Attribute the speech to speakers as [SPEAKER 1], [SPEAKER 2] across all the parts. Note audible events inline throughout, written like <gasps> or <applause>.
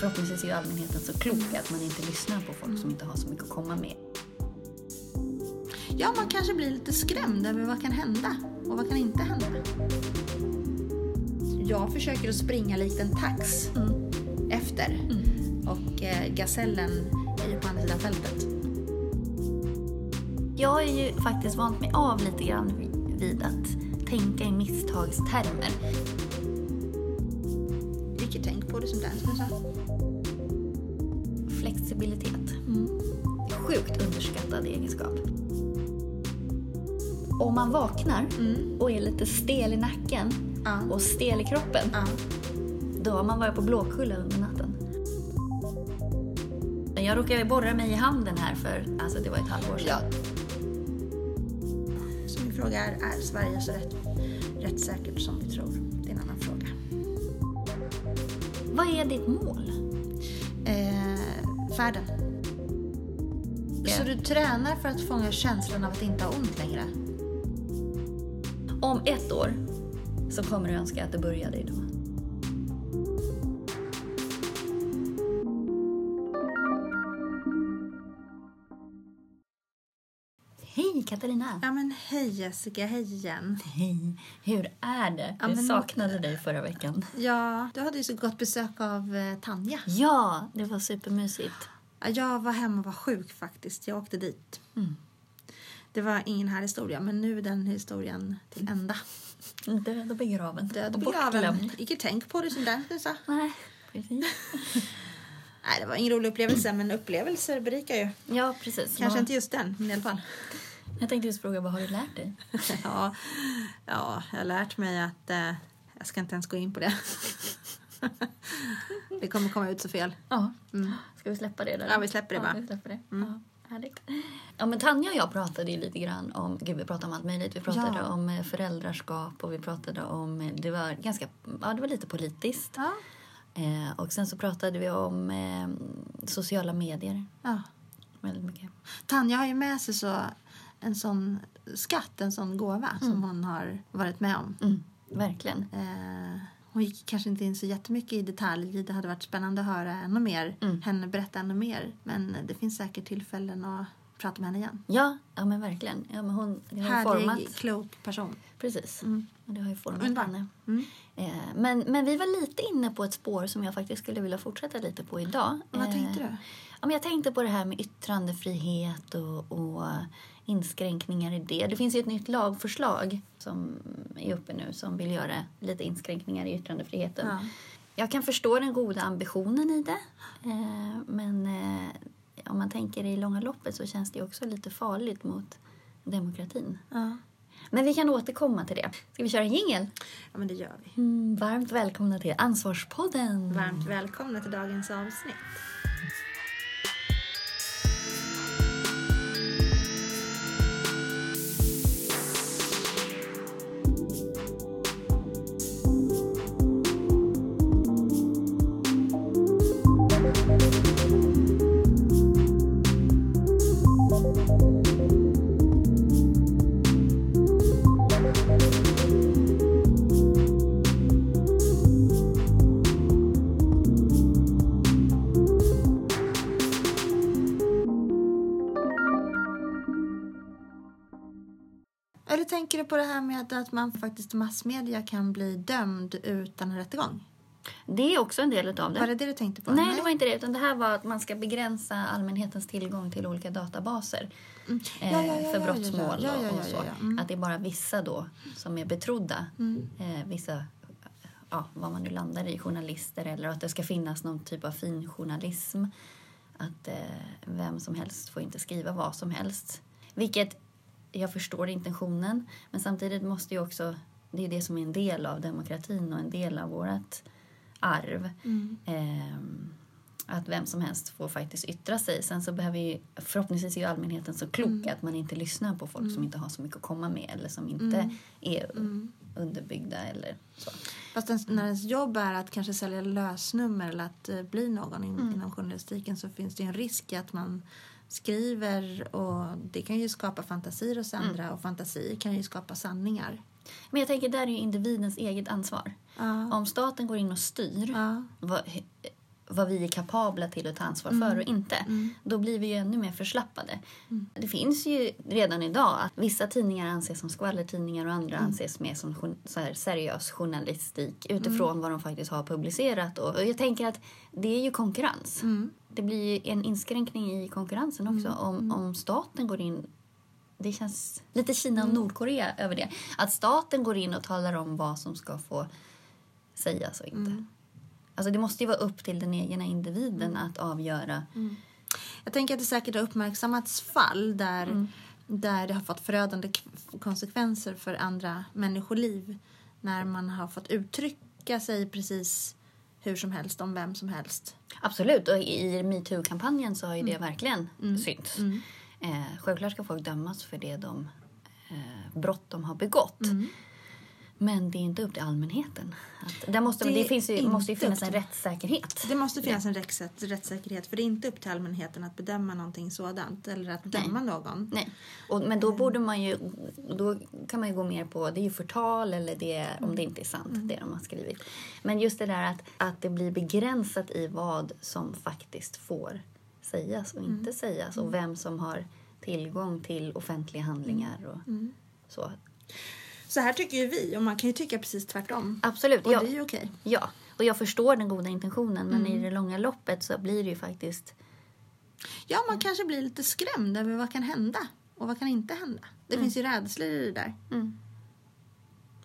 [SPEAKER 1] Förhoppningsvis är ju allmänheten så klok att man inte lyssnar på folk som inte har så mycket att komma med.
[SPEAKER 2] Ja, man kanske blir lite skrämd över vad kan hända och vad kan inte hända. Jag försöker att springa likt en tax
[SPEAKER 1] Mm.
[SPEAKER 2] efter och eh, gazellen är ju på andra sidan fältet.
[SPEAKER 1] Jag är ju faktiskt vant mig av lite grann vid att tänka i misstagstermer.
[SPEAKER 2] Ricky, tänk på det som dansken sa.
[SPEAKER 1] Flexibilitet. Mm. Sjukt underskattad egenskap. Om man vaknar
[SPEAKER 2] Mm.
[SPEAKER 1] och är lite stel i nacken
[SPEAKER 2] Ja.
[SPEAKER 1] och stel i kroppen,
[SPEAKER 2] Ja.
[SPEAKER 1] då har man varit på Blåkulla under natten. Men Jag råkade borra mig i handen här för alltså det var ett halvår sedan.
[SPEAKER 2] Ja. Så min fråga är, är Sverige så rätt, rätt säkert som vi tror? Det är en annan fråga.
[SPEAKER 1] Vad är ditt mål?
[SPEAKER 2] Eh, färden.
[SPEAKER 1] Ja.
[SPEAKER 2] Så du tränar för att fånga känslan av att inte ha ont längre?
[SPEAKER 1] Om ett år så kommer du önska att du började idag. Hej Katarina!
[SPEAKER 2] Ja men hej Jessica, hej igen.
[SPEAKER 1] Hej! Hur är det?
[SPEAKER 2] Ja,
[SPEAKER 1] Jag
[SPEAKER 2] men-
[SPEAKER 1] saknade dig förra veckan.
[SPEAKER 2] Ja, du hade ju så gott besök av eh, Tanja.
[SPEAKER 1] Ja, det var supermysigt.
[SPEAKER 2] Ja, Jag var hemma och var sjuk faktiskt. Jag åkte dit. Det var ingen här historia, men nu är den historien till ända.
[SPEAKER 1] Död och begraven.
[SPEAKER 2] Död
[SPEAKER 1] och
[SPEAKER 2] och begraven.
[SPEAKER 1] bortglömd.
[SPEAKER 2] Icke tänk på det som den sa.
[SPEAKER 1] Nej, precis.
[SPEAKER 2] Nej, det var ingen rolig upplevelse, men upplevelser berikar ju.
[SPEAKER 1] Ja, precis.
[SPEAKER 2] Kanske
[SPEAKER 1] Vad-
[SPEAKER 2] inte just den, men i alla fall.
[SPEAKER 1] Jag tänkte just fråga, vad har du lärt dig?
[SPEAKER 2] ja, ja, jag har lärt mig att eh, jag ska inte ens gå in på det. <laughs> det kommer komma ut så fel.
[SPEAKER 1] Ja. Ska vi släppa det? Där?
[SPEAKER 2] Mm. Ja, vi släpper det
[SPEAKER 1] ja,
[SPEAKER 2] bara. Mm.
[SPEAKER 1] Vi släpper det. Ja, härligt. Ja, men Tanja och jag pratade ju lite grann om, gud vi pratade om allt möjligt. Vi pratade
[SPEAKER 2] Ja.
[SPEAKER 1] om eh, föräldraskap och vi pratade om, eh, det var ganska, ja det var lite politiskt.
[SPEAKER 2] Ja.
[SPEAKER 1] Eh, och sen så pratade vi om eh, sociala medier
[SPEAKER 2] ja.
[SPEAKER 1] väldigt mycket.
[SPEAKER 2] Tanja har ju med sig så, en sån skatt, en sån gåva som hon har varit med om.
[SPEAKER 1] Mm, verkligen.
[SPEAKER 2] Eh, hon gick kanske inte in så jättemycket i detalj. Det hade varit spännande att höra ännu mer,
[SPEAKER 1] Mm.
[SPEAKER 2] henne berätta ännu mer. Men det finns säkert tillfällen att prata med henne igen.
[SPEAKER 1] Ja, ja men verkligen. Ja, men hon, det har ju
[SPEAKER 2] Härlig,
[SPEAKER 1] format.
[SPEAKER 2] klok person.
[SPEAKER 1] Precis.
[SPEAKER 2] Mm.
[SPEAKER 1] Och det har ju format
[SPEAKER 2] Underbar.
[SPEAKER 1] henne.
[SPEAKER 2] Mm.
[SPEAKER 1] Eh, Men, men vi var lite inne på ett spår som jag faktiskt skulle vilja fortsätta lite på idag.
[SPEAKER 2] Vad
[SPEAKER 1] Eh,
[SPEAKER 2] tänkte du?
[SPEAKER 1] Ja, men jag tänkte på det här med yttrandefrihet och, och inskränkningar i det. Det finns ju ett nytt lagförslag som är uppe nu som vill göra lite inskränkningar i yttrandefriheten.
[SPEAKER 2] Ja.
[SPEAKER 1] Jag kan förstå den goda ambitionen i det, eh, men eh, om man tänker i långa loppet så känns det ju också lite farligt mot demokratin.
[SPEAKER 2] Ja.
[SPEAKER 1] Men vi kan återkomma till det. Ska vi köra en jingel?
[SPEAKER 2] ja, men det gör vi.
[SPEAKER 1] Mm, varmt välkomna till Ansvarspodden!
[SPEAKER 2] Varmt välkomna till dagens avsnitt. Eller tänker du på det här med att man faktiskt i massmedia kan bli dömd utan en rättegång?
[SPEAKER 1] Det är också en del av det.
[SPEAKER 2] Var det det du tänkte på?
[SPEAKER 1] Nej, det var inte det. Utan det här var att man ska begränsa allmänhetens tillgång till olika databaser
[SPEAKER 2] Mm.
[SPEAKER 1] eh,
[SPEAKER 2] Ja, ja, ja,
[SPEAKER 1] för
[SPEAKER 2] ja,
[SPEAKER 1] brottsmål
[SPEAKER 2] ja, ja, ja,
[SPEAKER 1] och-
[SPEAKER 2] ja,
[SPEAKER 1] och så.
[SPEAKER 2] ja, ja. Mm.
[SPEAKER 1] Att det är bara vissa då som är betrodda.
[SPEAKER 2] Mm.
[SPEAKER 1] Eh, vissa, ja, vad man nu landar i, journalister eller att det ska finnas någon typ av finjournalism. Att eh, vem som helst får inte skriva vad som helst. Vilket, jag förstår intentionen, men samtidigt måste ju också, det är det som är en del av demokratin och en del av vårt arv.
[SPEAKER 2] Mm.
[SPEAKER 1] Ehm, att vem som helst får faktiskt yttra sig. Sen så behöver ju, förhoppningsvis är ju allmänheten så klok att man inte lyssnar på folk som inte har så mycket att komma med eller som inte är underbyggda eller så.
[SPEAKER 2] Fast ens, när ens jobb är att kanske sälja lösnummer eller att eh, bli någon in, inom journalistiken så finns det ju en risk att man skriver och det kan ju skapa fantasier hos andra och fantasier kan ju skapa sanningar.
[SPEAKER 1] Men jag tänker där är ju individens eget ansvar.
[SPEAKER 2] Ja.
[SPEAKER 1] Om staten går in och styr,
[SPEAKER 2] Ja.
[SPEAKER 1] vad, he- vad vi är kapabla till att ta ansvar för och inte. Då blir vi ju ännu mer förslappade. Det finns ju redan idag att vissa tidningar anses som skvallertidningar och andra anses mer som jour- så här seriös journalistik utifrån vad de faktiskt har publicerat. Och och jag tänker att det är ju konkurrens. Det blir ju en inskränkning i konkurrensen också om, om staten går in det känns lite Kina och Nordkorea över det. Att staten går in och talar om vad som ska få sägas och inte. Alltså det måste ju vara upp till den egna
[SPEAKER 2] Mm.
[SPEAKER 1] individen att avgöra.
[SPEAKER 2] Jag tänker att det säkert har uppmärksammats fall där, där det har fått förödande k- konsekvenser för andra människoliv när man har fått uttrycka sig precis hur som helst om vem som helst.
[SPEAKER 1] Absolut, och i metoo-kampanjen så har ju
[SPEAKER 2] Mm.
[SPEAKER 1] det verkligen synts. Eh, självklart ska folk dömas för det de eh, brott de har begått.
[SPEAKER 2] Mm.
[SPEAKER 1] Men det är inte upp till allmänheten. Att, där måste, det
[SPEAKER 2] Det är
[SPEAKER 1] finns ju, måste ju
[SPEAKER 2] inte
[SPEAKER 1] finnas
[SPEAKER 2] upp
[SPEAKER 1] en
[SPEAKER 2] till-
[SPEAKER 1] rättssäkerhet.
[SPEAKER 2] Det måste finnas en rättssäk- rättssäkerhet för det är inte upp till allmänheten att bedöma någonting sådant eller att döma någon.
[SPEAKER 1] Nej, och, men då borde man ju, då kan man ju gå mer på, det är ju förtal eller det, är- om det inte är sant
[SPEAKER 2] Mm.
[SPEAKER 1] det de har skrivit. Men just det där att, att det blir begränsat i vad som faktiskt får sägas och
[SPEAKER 2] Mm.
[SPEAKER 1] inte sägas och vem som har tillgång till offentliga handlingar
[SPEAKER 2] Mm.
[SPEAKER 1] och så.
[SPEAKER 2] Så här tycker ju vi och man kan ju tycka precis tvärtom.
[SPEAKER 1] Absolut,
[SPEAKER 2] Och
[SPEAKER 1] ja.
[SPEAKER 2] det Mm. är ju okej.
[SPEAKER 1] ja. Och jag förstår den goda intentionen men i det långa loppet så blir det ju faktiskt
[SPEAKER 2] Ja,
[SPEAKER 1] Mm.
[SPEAKER 2] man kanske blir lite skrämd över vad kan hända och vad kan inte hända. Det
[SPEAKER 1] Mm.
[SPEAKER 2] finns ju rädslor i det där.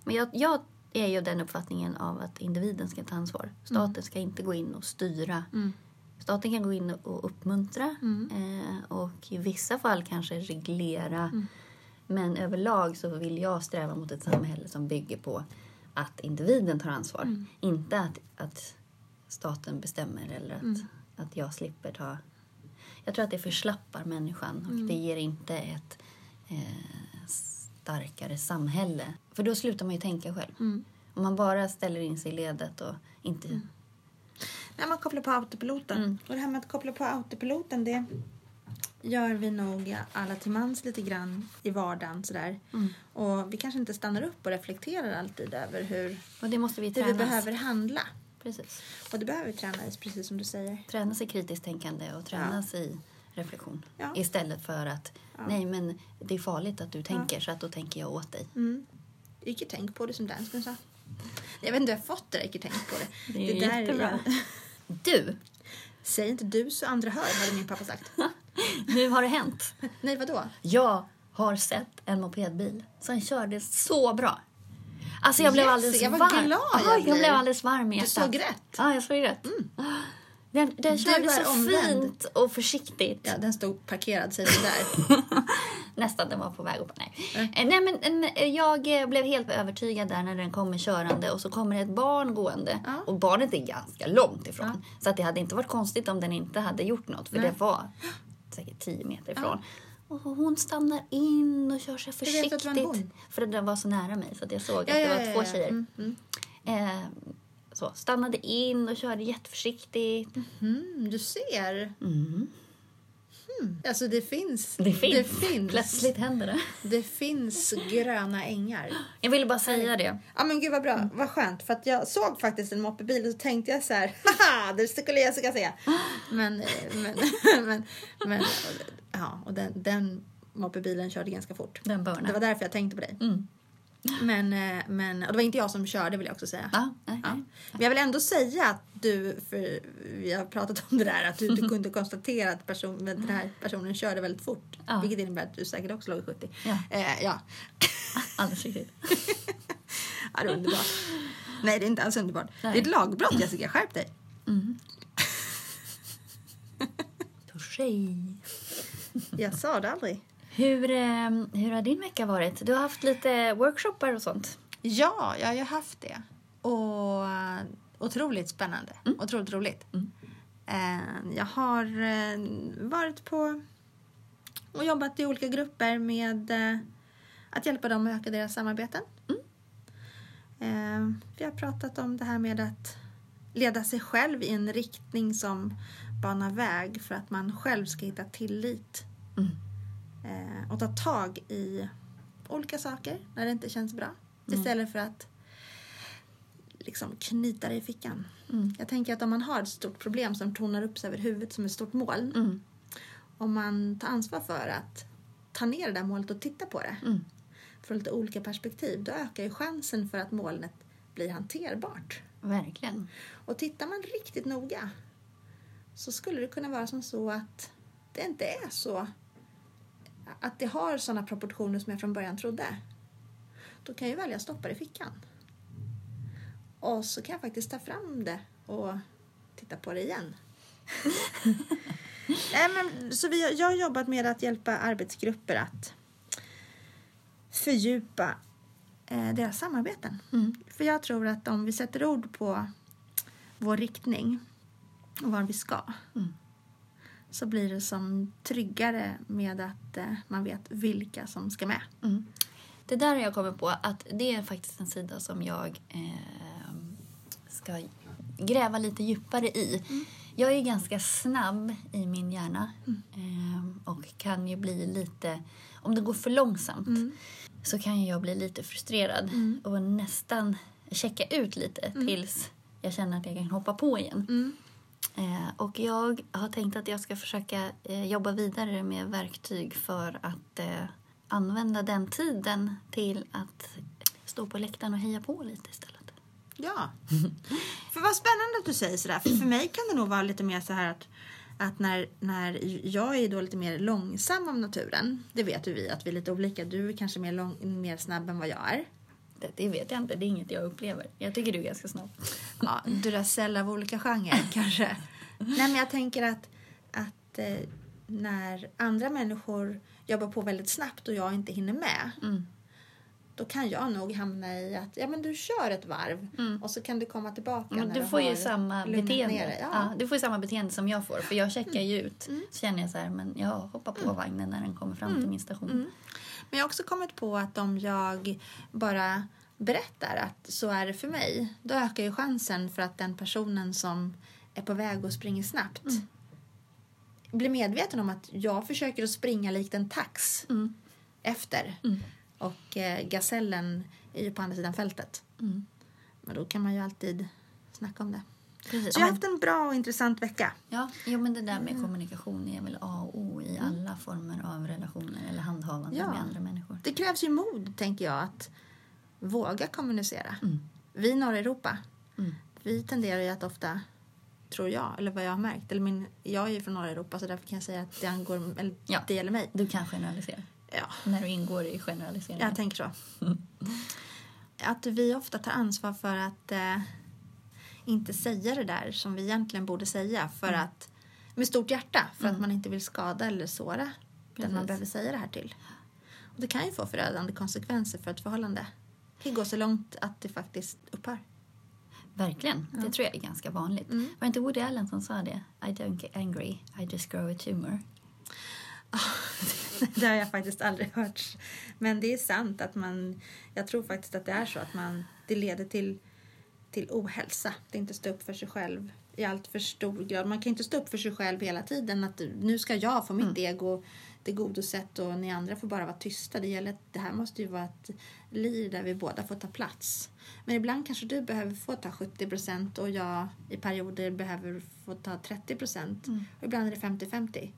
[SPEAKER 1] Men jag, jag är ju den uppfattningen av att individen ska ta ansvar. Staten ska inte gå in och styra. Staten kan gå in och uppmuntra eh, och i vissa fall kanske reglera. Men överlag så vill jag sträva mot ett samhälle som bygger på att individen tar ansvar. Inte att, att staten bestämmer eller att, att jag slipper ta... Jag tror att det förslappar människan och det ger inte ett eh, starkare samhälle. För då slutar man ju tänka själv.
[SPEAKER 2] Mm.
[SPEAKER 1] Om man bara ställer in sig i ledet och inte...
[SPEAKER 2] När man kopplar på autopiloten.
[SPEAKER 1] Mm.
[SPEAKER 2] Och det här med att koppla på autopiloten det gör vi nog alla till mans lite grann i vardagen sådär.
[SPEAKER 1] Mm.
[SPEAKER 2] Och vi kanske inte stannar upp och reflekterar alltid över hur,
[SPEAKER 1] Och det måste vi
[SPEAKER 2] hur
[SPEAKER 1] träna.
[SPEAKER 2] vi behöver handla.
[SPEAKER 1] Precis.
[SPEAKER 2] Och det behöver vi träna i, precis som du säger.
[SPEAKER 1] Tränas i kritiskt tänkande och tränas i reflektion.
[SPEAKER 2] Ja.
[SPEAKER 1] Istället för att nej men det är farligt att du tänker så att då tänker jag åt dig.
[SPEAKER 2] Mm. Icke tänk på det som dansken sa. Jag vet inte hur jag fått det där, icke tänk på det.
[SPEAKER 1] Det är jättebra.
[SPEAKER 2] jag-
[SPEAKER 1] Du!
[SPEAKER 2] Säg inte du så andra hör, hade min pappa sagt.
[SPEAKER 1] Nu har det hänt.
[SPEAKER 2] Nej, vadå?
[SPEAKER 1] Jag har sett en mopedbil som körde så bra. Alltså jag blev
[SPEAKER 2] Jessica,
[SPEAKER 1] alldeles
[SPEAKER 2] vad
[SPEAKER 1] varm.
[SPEAKER 2] glad jag
[SPEAKER 1] ja, jag
[SPEAKER 2] blir.
[SPEAKER 1] blev alldeles varm i
[SPEAKER 2] Du
[SPEAKER 1] hjärtat.
[SPEAKER 2] såg rätt.
[SPEAKER 1] Ja, jag såg rätt. Den, den körde
[SPEAKER 2] är
[SPEAKER 1] så
[SPEAKER 2] omvänd.
[SPEAKER 1] fint och försiktigt.
[SPEAKER 2] Ja, den stod parkerad, säger den där.
[SPEAKER 1] <laughs> Nästan, den var på väg upp. Nej. Eh, Nej, men, en- jag eh, blev helt övertygad där när den kommer körande och så kommer det ett barn gående.
[SPEAKER 2] Ja.
[SPEAKER 1] Och barnet är ganska långt ifrån. Så att det hade inte varit konstigt om den inte hade gjort något. För det var säkert 10 meter ifrån. Och hon stannar in och kör sig
[SPEAKER 2] vet att det var en
[SPEAKER 1] försiktigt.
[SPEAKER 2] hon?
[SPEAKER 1] för den var så nära mig så att jag såg att
[SPEAKER 2] Ja,
[SPEAKER 1] det
[SPEAKER 2] ja,
[SPEAKER 1] var
[SPEAKER 2] ja,
[SPEAKER 1] två
[SPEAKER 2] ja.
[SPEAKER 1] tjejer.
[SPEAKER 2] Mm,
[SPEAKER 1] Eh, så, stannade in och körde jätteförsiktigt.
[SPEAKER 2] Mm, du ser. Hmm. Alltså det finns.
[SPEAKER 1] Mm. Det finns.
[SPEAKER 2] Det finns,
[SPEAKER 1] Plötsligt händer det.
[SPEAKER 2] det finns gröna ängar.
[SPEAKER 1] Jag ville bara säga det.
[SPEAKER 2] Ja men gud vad bra, vad skönt. För att jag såg faktiskt en moppebil och så tänkte jag så här, <laughs> haha, det skulle Jessica säga. <gasps> Men, eh, men, <laughs> men, men ja, och den, den moppebilen körde ganska fort.
[SPEAKER 1] Den börnar.
[SPEAKER 2] Det var därför jag tänkte på dig.
[SPEAKER 1] Mm.
[SPEAKER 2] Men, eh, men, och det var inte jag som körde vill jag också säga.
[SPEAKER 1] Ja, nej,
[SPEAKER 2] Ja.
[SPEAKER 1] nej.
[SPEAKER 2] Men jag vill ändå säga att du, för vi har pratat om det där, att du, du kunde konstatera att person, den här personen körde väldigt fort.
[SPEAKER 1] Ja.
[SPEAKER 2] Vilket innebär att du säkert också låg i 70.
[SPEAKER 1] Ja.
[SPEAKER 2] Eh, ja.
[SPEAKER 1] Alldeles riktigt.
[SPEAKER 2] ja, det är underbart. Nej, det är inte alls underbart.
[SPEAKER 1] Nej.
[SPEAKER 2] Det är ett lagbrott, Jessica. Skärp dig.
[SPEAKER 1] Touché.
[SPEAKER 2] Jag sa det aldrig.
[SPEAKER 1] Hur, eh, hur har din vecka varit? Du har haft lite workshoppar och sånt.
[SPEAKER 2] Ja, jag har ju haft det. Och eh, otroligt spännande. Otroligt roligt. Eh, Jag har eh, varit på och jobbat i olika grupper med eh, att hjälpa dem att öka deras samarbeten. Eh, Vi har pratat om det här med att leda sig själv i en riktning som banar väg för att man själv ska hitta tillit
[SPEAKER 1] Mm.
[SPEAKER 2] eh, och ta tag i olika saker när det inte känns bra. Istället för att liksom knyta dig i fickan.
[SPEAKER 1] Mm.
[SPEAKER 2] Jag tänker att om man har ett stort problem som tornar upp sig över huvudet som ett stort moln.
[SPEAKER 1] Mm.
[SPEAKER 2] Om man tar ansvar för att ta ner det där molnet och titta på det
[SPEAKER 1] Mm.
[SPEAKER 2] från lite olika perspektiv. Då ökar ju chansen för att molnet blir hanterbart.
[SPEAKER 1] Verkligen.
[SPEAKER 2] Och tittar man riktigt noga så skulle det kunna vara som så att det inte är så att det har sådana proportioner som jag från början trodde. Då kan jag ju välja att stoppa det i fickan. Och så kan jag faktiskt ta fram det och titta på det igen. Nej, men, så vi, jag har jobbat med att hjälpa arbetsgrupper att fördjupa eh, deras samarbeten.
[SPEAKER 1] Mm.
[SPEAKER 2] För jag tror att om vi sätter ord på vår riktning och var vi ska
[SPEAKER 1] Mm.
[SPEAKER 2] så blir det som tryggare med att eh, man vet vilka som ska med.
[SPEAKER 1] Mm. Det där har jag kommit på att det är faktiskt en sida som jag eh, ska gräva lite djupare i. Jag är ju ganska snabb i min hjärna eh, och kan ju bli lite, om det går för långsamt så kan ju jag bli lite frustrerad
[SPEAKER 2] Mm.
[SPEAKER 1] och nästan checka ut lite tills jag känner att jag kan hoppa på igen.
[SPEAKER 2] Mm.
[SPEAKER 1] Eh, och jag har tänkt att jag ska försöka eh, jobba vidare med verktyg för att eh, använda den tiden till att stå på läktaren och heja på lite istället.
[SPEAKER 2] Ja. <laughs> för vad spännande att du säger sådär. För, för mig kan det nog vara lite mer så här att, att när, när jag är då lite mer långsam av naturen. Det vet ju vi att vi är lite olika. Du är kanske mer, lång, mer snabb än vad jag är.
[SPEAKER 1] Det, det vet jag inte, det är inget jag upplever. Jag tycker du är ganska snabb.
[SPEAKER 2] ja, Duracell av olika <laughs> genrer kanske. Nej, men jag tänker att, att eh, när andra människor jobbar på väldigt snabbt och jag inte hinner med
[SPEAKER 1] Mm.
[SPEAKER 2] då kan jag nog hamna i att ja, men du kör ett varv
[SPEAKER 1] Mm.
[SPEAKER 2] och så kan du komma tillbaka
[SPEAKER 1] Men
[SPEAKER 2] när
[SPEAKER 1] du får ju
[SPEAKER 2] har
[SPEAKER 1] samma
[SPEAKER 2] lugnat
[SPEAKER 1] beteende.
[SPEAKER 2] ner dig. Ja.
[SPEAKER 1] Ja, du får ju samma beteende som jag får, för jag checkar ju ut.
[SPEAKER 2] Mm.
[SPEAKER 1] Så känner jag så här, men jag hoppar på vagnen när den kommer fram till min station.
[SPEAKER 2] Mm. Men jag har också kommit på att om jag bara berättar att så är det för mig, då ökar ju chansen för att den personen som är på väg och springer snabbt blir medveten om att jag försöker att springa likt en tax
[SPEAKER 1] Mm.
[SPEAKER 2] efter
[SPEAKER 1] Mm.
[SPEAKER 2] och eh, gasellen är ju på andra sidan fältet.
[SPEAKER 1] Mm.
[SPEAKER 2] Men då kan man ju alltid snacka om det.
[SPEAKER 1] Precis.
[SPEAKER 2] Så
[SPEAKER 1] Ja,
[SPEAKER 2] jag har
[SPEAKER 1] men-
[SPEAKER 2] haft en bra och intressant vecka.
[SPEAKER 1] Ja, jo, men det där med kommunikation är väl A och O i alla former av relationer eller handhavande
[SPEAKER 2] Ja.
[SPEAKER 1] med andra människor.
[SPEAKER 2] Det krävs ju mod, tänker jag, att våga kommunicera. Vi i norra Europa,
[SPEAKER 1] Mm.
[SPEAKER 2] vi tenderar ju att ofta, tror jag, eller vad jag har märkt, eller min, jag är ju från norra Europa så därför kan jag säga att det, angår, eller,
[SPEAKER 1] Ja.
[SPEAKER 2] det gäller mig.
[SPEAKER 1] Du kan generalisera,
[SPEAKER 2] Ja,
[SPEAKER 1] när du ingår i
[SPEAKER 2] jag
[SPEAKER 1] generaliseringen.
[SPEAKER 2] tänker så. Att vi ofta tar ansvar för att eh, inte säga det där som vi egentligen borde säga för att, med stort hjärta, för att man inte vill skada eller såra den man
[SPEAKER 1] Precis.
[SPEAKER 2] behöver säga det här till. Och det kan ju få förödande konsekvenser för ett förhållande. Det kan gå så långt att det faktiskt upphör. <laughs>
[SPEAKER 1] Verkligen, det tror jag är ganska vanligt. Var det inte Woody Allen som sa det? I don't get angry, I just grow a tumor.
[SPEAKER 2] Det har jag faktiskt aldrig hört. Men det är sant att man... Jag tror faktiskt att det är så att man... Det leder till, till ohälsa. Det är inte stå upp för sig själv i allt för stor grad. Man kan inte stå upp för sig själv hela tiden. Att nu ska jag få mitt
[SPEAKER 1] Mm.
[SPEAKER 2] ego tillgodosett och ni andra får bara vara tysta. Det, gäller, att- det här måste ju vara ett liv där vi båda får ta plats. Men ibland kanske du behöver få ta 70 procent och jag i perioder behöver få ta 30 procent.
[SPEAKER 1] Mm.
[SPEAKER 2] Och ibland är det 50-50.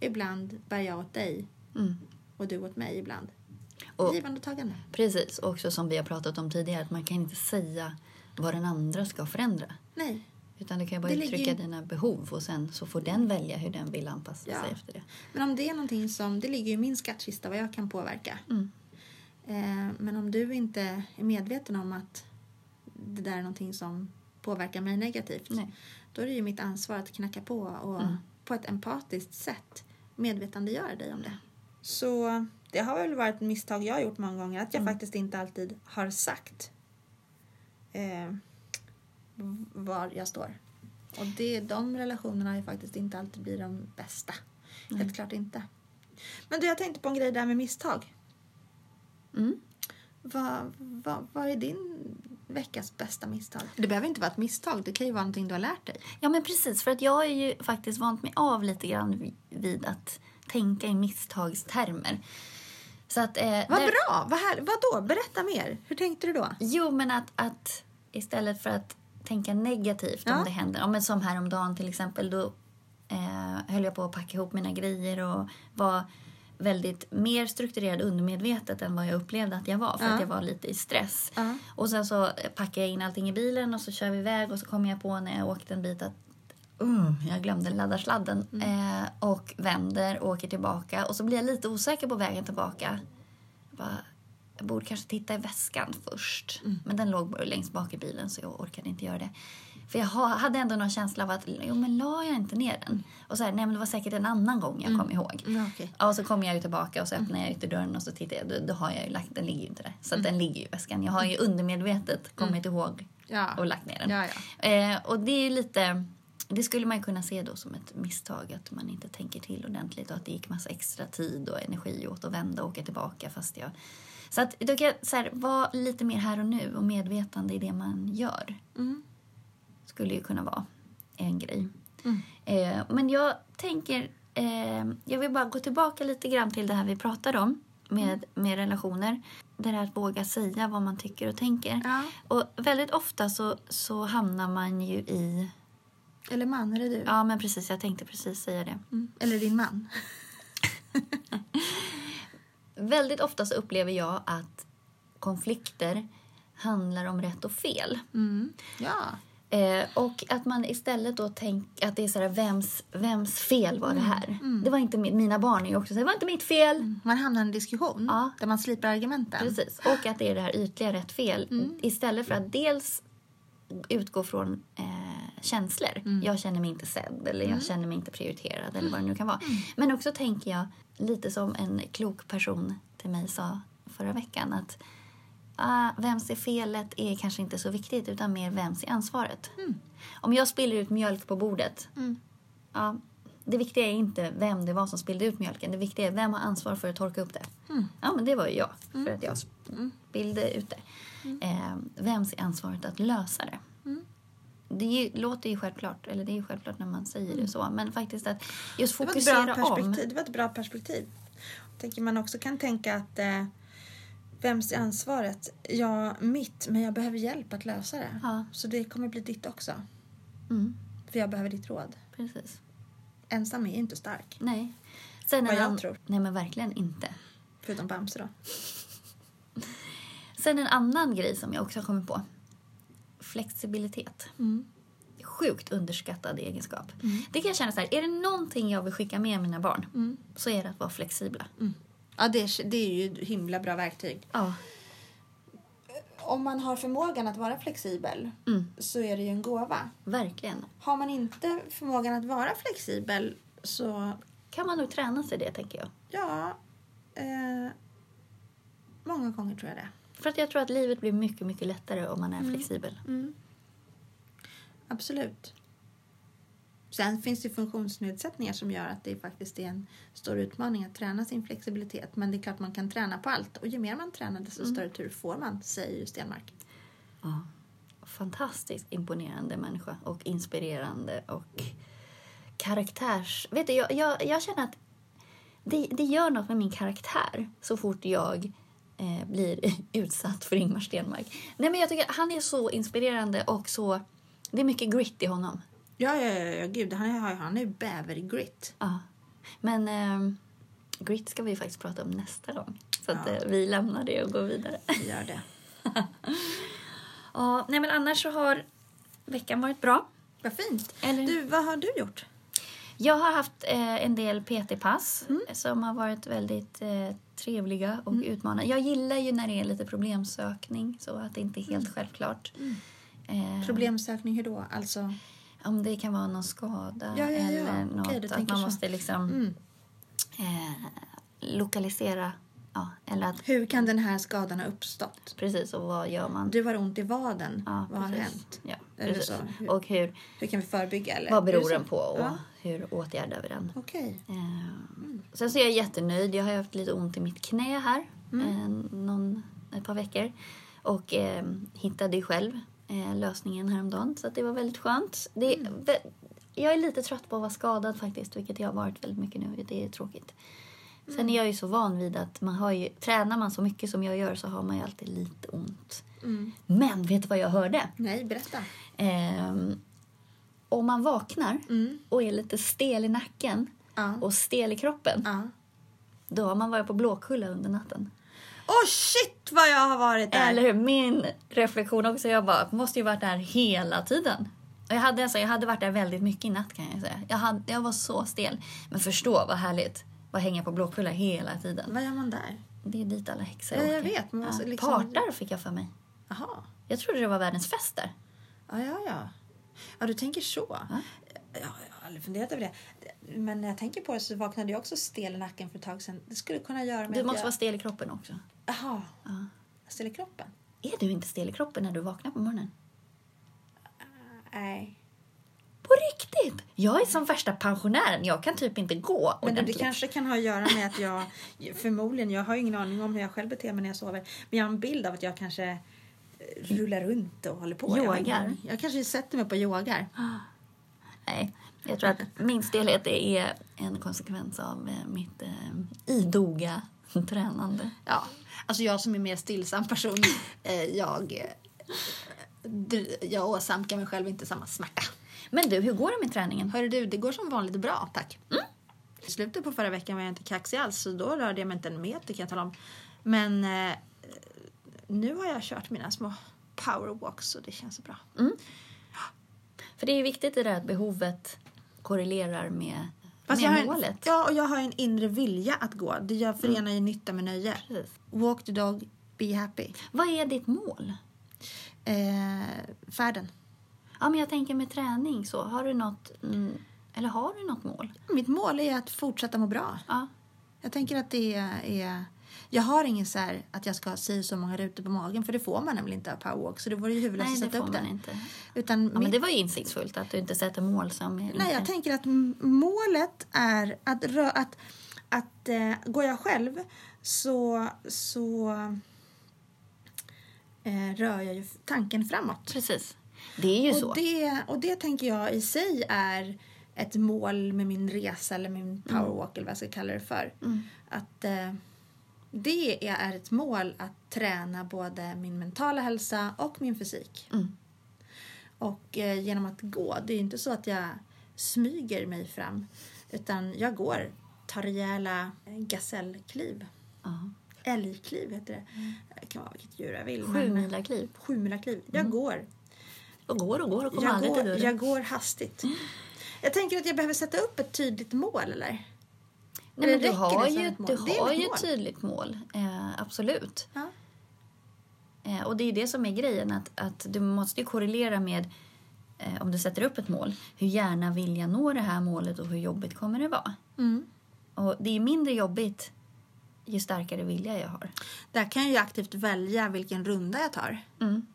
[SPEAKER 2] Ibland bär jag åt dig
[SPEAKER 1] Mm.
[SPEAKER 2] och du åt mig ibland.
[SPEAKER 1] Och-
[SPEAKER 2] Givande och tagande.
[SPEAKER 1] Precis, och också som vi har pratat om tidigare, att man kan inte säga vad den andra ska förändra.
[SPEAKER 2] Nej.
[SPEAKER 1] Utan du kan ju bara
[SPEAKER 2] Det ligger
[SPEAKER 1] uttrycka
[SPEAKER 2] ju-
[SPEAKER 1] dina behov och sen så får den välja hur den vill anpassa
[SPEAKER 2] Ja.
[SPEAKER 1] sig efter det.
[SPEAKER 2] Men om det är någonting som, det ligger ju i min skattkista vad jag kan påverka.
[SPEAKER 1] Mm.
[SPEAKER 2] Eh, men om du inte är medveten om att det där är någonting som påverkar mig negativt.
[SPEAKER 1] Nej. Mm.
[SPEAKER 2] Då är det ju mitt ansvar att knacka på och på ett empatiskt sätt medvetandegöra dig om det. Så det har väl varit ett misstag jag har gjort många gånger att jag
[SPEAKER 1] Mm.
[SPEAKER 2] faktiskt inte alltid har sagt eh, var jag står. Och det, de relationerna har ju faktiskt inte alltid blivit de bästa. Helt klart inte. Men du, jag tänkte på en grej där med misstag.
[SPEAKER 1] Mm.
[SPEAKER 2] Vad, vad, vad är din veckas bästa misstag? Det behöver inte vara ett misstag, det kan ju vara någonting du har lärt dig.
[SPEAKER 1] Ja, men precis. För att jag är ju faktiskt vant mig av lite grann vid- vid att tänka i misstagstermer. Så att... Eh,
[SPEAKER 2] Vad
[SPEAKER 1] där-
[SPEAKER 2] bra! Vad här, vadå? Berätta mer. Hur tänkte du då?
[SPEAKER 1] Jo, men att, att istället för att tänka negativt
[SPEAKER 2] Ja.
[SPEAKER 1] om det händer. Ja, men som häromdagen till exempel, då eh, höll jag på att packa ihop mina grejer och var väldigt mer strukturerad undermedvetet än vad jag upplevde att jag var för
[SPEAKER 2] Ja.
[SPEAKER 1] att jag var lite i stress.
[SPEAKER 2] Ja.
[SPEAKER 1] Och sen så packade jag in allting i bilen och så kör vi iväg och så kom jag på när jag åkte en bit att Mm, jag glömde ladda sladden.
[SPEAKER 2] Mm.
[SPEAKER 1] Eh, och vänder och åker tillbaka. Och så blir jag lite osäker på vägen tillbaka. Jag, bara, jag borde kanske titta i väskan först.
[SPEAKER 2] Mm.
[SPEAKER 1] Men den låg bara längst bak i bilen så jag orkade inte göra det. För jag ha- hade ändå någon känsla av att jo, men la jag inte ner den? Och så här, nej men det var säkert en annan gång jag kom ihåg.
[SPEAKER 2] Mm. Ja, okej. Mm.
[SPEAKER 1] Ja, och så kommer jag ju tillbaka och så öppnar jag ytterdörren och så tittar jag. Då, då har jag ju lagt, den ligger ju inte där. Så att
[SPEAKER 2] Mm.
[SPEAKER 1] den ligger ju i väskan. Jag har ju undermedvetet kommit ihåg
[SPEAKER 2] Ja.
[SPEAKER 1] och lagt ner den.
[SPEAKER 2] Ja, ja.
[SPEAKER 1] Eh, och det är ju lite... Det skulle man ju kunna se då som ett misstag, att man inte tänker till ordentligt och att det gick massa extra tid och energi åt att vända och åka tillbaka fast jag... Så att då kan jag så här, vara lite mer här och nu och medvetande i det man gör.
[SPEAKER 2] Mm.
[SPEAKER 1] Skulle ju kunna vara en grej.
[SPEAKER 2] Mm.
[SPEAKER 1] Eh, men jag tänker... Eh, jag vill bara gå tillbaka lite grann till det här vi pratade om
[SPEAKER 2] Mm.
[SPEAKER 1] med, med relationer. Det där att våga säga vad man tycker och tänker.
[SPEAKER 2] Ja.
[SPEAKER 1] Och väldigt ofta så, så hamnar man ju i...
[SPEAKER 2] Eller man, eller du.
[SPEAKER 1] Ja, men precis. Jag tänkte precis säga det.
[SPEAKER 2] Mm. Eller din man.
[SPEAKER 1] Väldigt ofta så upplever jag att konflikter handlar om rätt och fel.
[SPEAKER 2] Mm. Ja.
[SPEAKER 1] Eh, och att man istället då tänker att det är så här, vems, vems fel var det här? Det var inte mi- mina barn är ju också så här, det var inte mitt fel.
[SPEAKER 2] Man hamnar i en diskussion
[SPEAKER 1] Ja.
[SPEAKER 2] där man slipar argumenten.
[SPEAKER 1] Precis. Och att det är det här ytliga rätt fel. Istället för att dels utgå från eh, känslor. Jag känner mig inte sedd eller jag känner mig inte prioriterad eller vad det nu kan vara. Men också tänker jag, lite som en klok person till mig sa förra veckan att ah, vems är felet är kanske inte så viktigt utan mer vems är ansvaret. Om jag spiller ut mjölk på bordet
[SPEAKER 2] Mm.
[SPEAKER 1] Ja, det viktiga är inte vem det var som spillde ut mjölken. Det viktiga är vem har ansvar för att torka upp det.
[SPEAKER 2] Mm.
[SPEAKER 1] Ja, men det var ju jag, för att jag spillde ut det.
[SPEAKER 2] Mm.
[SPEAKER 1] Eh, vems är ansvaret att lösa det? Det är ju, låter ju självklart, eller det är ju självklart när man säger det så, men faktiskt att just
[SPEAKER 2] Mm. Det var, ett bra
[SPEAKER 1] fokusera om.
[SPEAKER 2] perspektiv. det var ett bra perspektiv. Jag tänker man också kan tänka att eh, vems är ansvaret? Ja, mitt, men jag behöver hjälp att lösa det.
[SPEAKER 1] Ja.
[SPEAKER 2] Så det kommer bli ditt också,
[SPEAKER 1] Mm,
[SPEAKER 2] för jag behöver ditt råd.
[SPEAKER 1] precis.
[SPEAKER 2] Ensam är ju inte stark,
[SPEAKER 1] Nej. Sen när
[SPEAKER 2] Vad jag
[SPEAKER 1] han-
[SPEAKER 2] tror.
[SPEAKER 1] Nej, men verkligen inte.
[SPEAKER 2] förutom Bamse då.
[SPEAKER 1] Sen en annan grej som jag också har kommit på. Flexibilitet.
[SPEAKER 2] Mm.
[SPEAKER 1] Sjukt underskattad egenskap. Det kan jag känna så här, är det någonting jag vill skicka med mina barn så är det att vara flexibla.
[SPEAKER 2] Ja, det är, det är ju ett himla bra verktyg.
[SPEAKER 1] Ja.
[SPEAKER 2] Om man har förmågan att vara flexibel
[SPEAKER 1] Mm,
[SPEAKER 2] så är det ju en gåva.
[SPEAKER 1] verkligen.
[SPEAKER 2] Har man inte förmågan att vara flexibel så
[SPEAKER 1] Kan man nog träna sig det, tänker jag.
[SPEAKER 2] ja, eh, många gånger tror jag det.
[SPEAKER 1] För att jag tror att livet blir mycket, mycket lättare om man är flexibel.
[SPEAKER 2] Mm. Absolut. Sen finns det funktionsnedsättningar som gör att det faktiskt är en stor utmaning att träna sin flexibilitet. Men det är klart man kan träna på allt och ju mer man tränar desto större tur får man, säger ju Stenmark.
[SPEAKER 1] Ja. Fantastiskt imponerande människa och inspirerande och karaktärs... Vet du, jag, jag, jag känner att det, det gör något med min karaktär så fort jag eh, blir <laughs> utsatt för Ingmar Stenmark. Nej, men jag tycker att han är så inspirerande och så... Det är mycket grit i honom.
[SPEAKER 2] Ja, ja, ja, ja gud, han är, han är ju bävergrit.
[SPEAKER 1] Ja. Men ehm, grit ska vi ju faktiskt prata om nästa gång. Så att
[SPEAKER 2] Ja.
[SPEAKER 1] eh, vi lämnar det och går vidare.
[SPEAKER 2] Vi gör det.
[SPEAKER 1] Ja, nej men annars så har veckan varit bra.
[SPEAKER 2] <laughs> Vad fint.
[SPEAKER 1] Eller-
[SPEAKER 2] Du, vad har du gjort?
[SPEAKER 1] Jag har haft eh, en del PT-pass
[SPEAKER 2] Mm.
[SPEAKER 1] som har varit väldigt eh, trevliga och utmanande. Jag gillar ju när det är lite problemsökning så att det inte är helt
[SPEAKER 2] Mm.
[SPEAKER 1] självklart. Eh,
[SPEAKER 2] Problemsökning, hur då? Alltså,
[SPEAKER 1] om det kan vara någon skada
[SPEAKER 2] Ja, ja, ja.
[SPEAKER 1] eller
[SPEAKER 2] Okej,
[SPEAKER 1] något.
[SPEAKER 2] du
[SPEAKER 1] att
[SPEAKER 2] tänker
[SPEAKER 1] man
[SPEAKER 2] så.
[SPEAKER 1] måste liksom
[SPEAKER 2] Mm.
[SPEAKER 1] eh, lokalisera. Ja, eller att,
[SPEAKER 2] hur kan den här skadan ha uppstått?
[SPEAKER 1] precis, och vad gör man?
[SPEAKER 2] Du har ont i vaden.
[SPEAKER 1] Ja,
[SPEAKER 2] vad har
[SPEAKER 1] precis.
[SPEAKER 2] hänt?
[SPEAKER 1] Ja,
[SPEAKER 2] Eller
[SPEAKER 1] precis.
[SPEAKER 2] så. Hur-
[SPEAKER 1] Och hur,
[SPEAKER 2] Hur kan vi förebygga? Eller?
[SPEAKER 1] vad beror
[SPEAKER 2] Hur-
[SPEAKER 1] den på och
[SPEAKER 2] Ja.
[SPEAKER 1] hur åtgärdar vi den?
[SPEAKER 2] Okej.
[SPEAKER 1] Eh, Sen så är jag jättenöjd. Jag har ju haft lite ont i mitt knä här
[SPEAKER 2] Mm.
[SPEAKER 1] eh, någon, ett par veckor. Och eh, hittade ju själv eh, lösningen häromdagen. Så att det var väldigt skönt. Det,
[SPEAKER 2] Mm.
[SPEAKER 1] vä- Jag är lite trött på att vara skadad faktiskt, vilket jag har varit väldigt mycket nu. Det är tråkigt.
[SPEAKER 2] Mm.
[SPEAKER 1] Sen är jag ju så van vid att man har ju, tränar man så mycket som jag gör så har man ju alltid lite ont.
[SPEAKER 2] Mm.
[SPEAKER 1] Men vet du vad jag hörde?
[SPEAKER 2] Nej, berätta.
[SPEAKER 1] Ehm, om man vaknar
[SPEAKER 2] Mm.
[SPEAKER 1] och är lite stel i nacken
[SPEAKER 2] Ja.
[SPEAKER 1] och stel i kroppen,
[SPEAKER 2] Ja.
[SPEAKER 1] då har man varit på Blåkulla under natten.
[SPEAKER 2] Oh shit vad jag har varit där!
[SPEAKER 1] Eller hur? Min reflektion också. Jag bara, måste ju varit där hela tiden. Och jag, hade, alltså, jag hade varit där väldigt mycket i natt kan jag säga. Jag, hade, jag var så stel. Men förstå vad härligt. Att hänga på Blåkulla hela tiden.
[SPEAKER 2] Vad gör man där?
[SPEAKER 1] Det är dit alla häxor
[SPEAKER 2] Ja, jag
[SPEAKER 1] åker.
[SPEAKER 2] vet, men alltså, liksom-
[SPEAKER 1] Partar fick jag för mig.
[SPEAKER 2] Jaha.
[SPEAKER 1] Jag trodde det var världens fest där.
[SPEAKER 2] Ja, ja, ja. Ja, du tänker så.
[SPEAKER 1] Ja.
[SPEAKER 2] Ja, jag har aldrig funderat över det. Men när jag tänker på det så vaknade jag också stel i nacken för ett tag sedan. Det skulle kunna göra med
[SPEAKER 1] Du måste
[SPEAKER 2] jag...
[SPEAKER 1] vara stel i kroppen också.
[SPEAKER 2] Jaha.
[SPEAKER 1] Ja.
[SPEAKER 2] Stel i kroppen?
[SPEAKER 1] Är du inte stel i kroppen när du vaknar på morgonen?
[SPEAKER 2] Nej.
[SPEAKER 1] På riktigt! Jag är som värsta pensionären. Jag kan typ inte gå
[SPEAKER 2] Men det
[SPEAKER 1] ordentligt.
[SPEAKER 2] kanske kan ha att göra med att jag förmodligen, jag har ju ingen aning om hur jag själv beter mig när jag sover, men jag har en bild av att jag kanske eh, rullar runt och håller på. Jag har ingen
[SPEAKER 1] Yogar.
[SPEAKER 2] aning. Jag kanske sätter mig på yogar.
[SPEAKER 1] Nej, jag tror att min stelhet är en konsekvens av eh, mitt eh, idoga <laughs> tränande.
[SPEAKER 2] Ja, alltså jag som är mer stillsam person, eh, jag, eh, dr- jag åsamkar mig själv inte samma smärta.
[SPEAKER 1] Men du, hur går det med träningen?
[SPEAKER 2] Hörru du, det går som vanligt bra, tack.
[SPEAKER 1] Mm.
[SPEAKER 2] I slutet på förra veckan var jag inte kaxig alls, så då rörde jag mig inte en meter kan jag tala om. Men eh, nu har jag kört mina små powerwalks och det känns bra.
[SPEAKER 1] Mm. För det är ju viktigt i det här att behovet korrelerar med,
[SPEAKER 2] Fast jag har
[SPEAKER 1] med
[SPEAKER 2] en,
[SPEAKER 1] målet. Mm.
[SPEAKER 2] ja, och jag har en inre vilja att gå. Det jag förenar ju nytta med nöje.
[SPEAKER 1] Precis.
[SPEAKER 2] Walk the dog, be happy.
[SPEAKER 1] Vad är ditt mål?
[SPEAKER 2] Eh, färden.
[SPEAKER 1] Ja, men jag tänker med träning så. Har du något, mm, eller har du något mål?
[SPEAKER 2] Mitt mål är att fortsätta må bra.
[SPEAKER 1] Ja.
[SPEAKER 2] Jag tänker att det är... Jag har ingen så här att jag ska ha si så många rutor på magen för det får man nämligen inte av powerwalk så det vore ju huvudlöst
[SPEAKER 1] Nej,
[SPEAKER 2] att
[SPEAKER 1] det
[SPEAKER 2] sätta
[SPEAKER 1] får
[SPEAKER 2] upp
[SPEAKER 1] man
[SPEAKER 2] den.
[SPEAKER 1] inte.
[SPEAKER 2] Utan
[SPEAKER 1] Ja, men
[SPEAKER 2] mitt,
[SPEAKER 1] det var ju insiktsfullt att du inte sätter mål som inte...
[SPEAKER 2] Nej, jag tänker att m- målet är att, rö, att, att eh, går jag själv så, så eh, rör jag ju tanken framåt.
[SPEAKER 1] Precis. Det är ju så.
[SPEAKER 2] Och det, och det tänker jag i sig är ett mål med min resa eller
[SPEAKER 1] Mm.
[SPEAKER 2] min powerwalk eller vad jag ska kalla det för. Att eh, det är ett mål att träna både min mentala hälsa och min fysik.
[SPEAKER 1] Mm.
[SPEAKER 2] Och eh, genom att gå, det är ju inte så att jag smyger mig fram utan jag går, tar rejäla gasellkliv.
[SPEAKER 1] Ja.
[SPEAKER 2] Älgkliv heter det. Det kan vara vilket djur jag vill.
[SPEAKER 1] Mm. Sju
[SPEAKER 2] men-
[SPEAKER 1] mila kliv. Mm.
[SPEAKER 2] Sjumilakliv. Jag går
[SPEAKER 1] Och går och går och kommer
[SPEAKER 2] jag
[SPEAKER 1] aldrig
[SPEAKER 2] går,
[SPEAKER 1] till dörren.
[SPEAKER 2] jag går hastigt. Jag tänker att jag behöver sätta upp ett tydligt mål, eller?
[SPEAKER 1] Nej, men
[SPEAKER 2] Eller
[SPEAKER 1] du
[SPEAKER 2] räcker
[SPEAKER 1] har
[SPEAKER 2] det som
[SPEAKER 1] ju,
[SPEAKER 2] ett mål?
[SPEAKER 1] du
[SPEAKER 2] Det är
[SPEAKER 1] har
[SPEAKER 2] mitt
[SPEAKER 1] ju
[SPEAKER 2] mål.
[SPEAKER 1] ett tydligt mål, eh, absolut.
[SPEAKER 2] Ja.
[SPEAKER 1] Eh, och det är ju det som är grejen, att, att du måste ju korrelera med eh, om du sätter upp ett mål, hur gärna vill jag nå det här målet och hur jobbigt kommer det vara?
[SPEAKER 2] Mm.
[SPEAKER 1] Och det är mindre jobbigt ju starkare vilja jag har.
[SPEAKER 2] Där kan jag ju aktivt välja vilken runda jag tar.
[SPEAKER 1] Mm.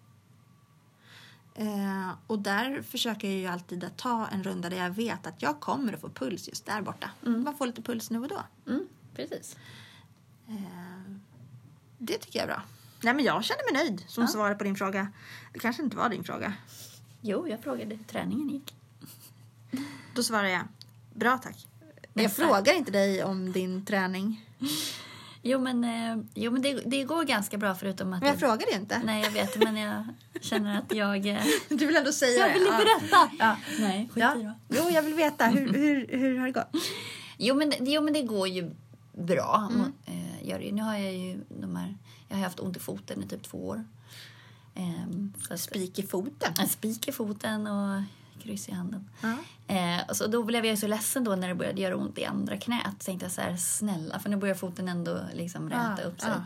[SPEAKER 2] Eh, och där försöker jag ju alltid att ta en runda där jag vet att jag kommer att få puls just där borta. Man får lite puls nu och då.
[SPEAKER 1] Mm, precis.
[SPEAKER 2] Eh, det tycker jag är bra. Nej, men jag känner mig nöjd som svar på din fråga. Det kanske inte var din fråga.
[SPEAKER 1] Jo, jag frågade hur träningen gick.
[SPEAKER 2] Då svarar jag, bra tack. jag
[SPEAKER 1] Nästa.
[SPEAKER 2] frågar inte dig om din träning.
[SPEAKER 1] Jo, men, eh, jo, men det, det går ganska bra förutom att...
[SPEAKER 2] Men jag
[SPEAKER 1] det-
[SPEAKER 2] frågar inte.
[SPEAKER 1] Nej, jag vet, men jag känner att jag...
[SPEAKER 2] <laughs>
[SPEAKER 1] Eh,
[SPEAKER 2] Du vill ändå säga
[SPEAKER 1] jag
[SPEAKER 2] det.
[SPEAKER 1] vill
[SPEAKER 2] Ja.
[SPEAKER 1] inte berätta!
[SPEAKER 2] Ja.
[SPEAKER 1] Nej, skit i
[SPEAKER 2] Ja.
[SPEAKER 1] då.
[SPEAKER 2] Jo, jag vill
[SPEAKER 1] <laughs>
[SPEAKER 2] veta. Hur, hur, hur har det gått?
[SPEAKER 1] Jo men, jo, men det går ju bra. Och, eh, gör det. ju. Nu har jag ju de här, jag har haft ont i foten i typ två år. Ehm, så att,
[SPEAKER 2] Spik i foten.
[SPEAKER 1] en spik i foten och kryss i handen.
[SPEAKER 2] Ja.
[SPEAKER 1] Eh, och så då blev jag ju så ledsen då när det började göra ont i andra knät. Så tänkte jag så här, snälla, för nu börjar foten ändå liksom
[SPEAKER 2] Ah,
[SPEAKER 1] räta upp sig. Eh.
[SPEAKER 2] Ja.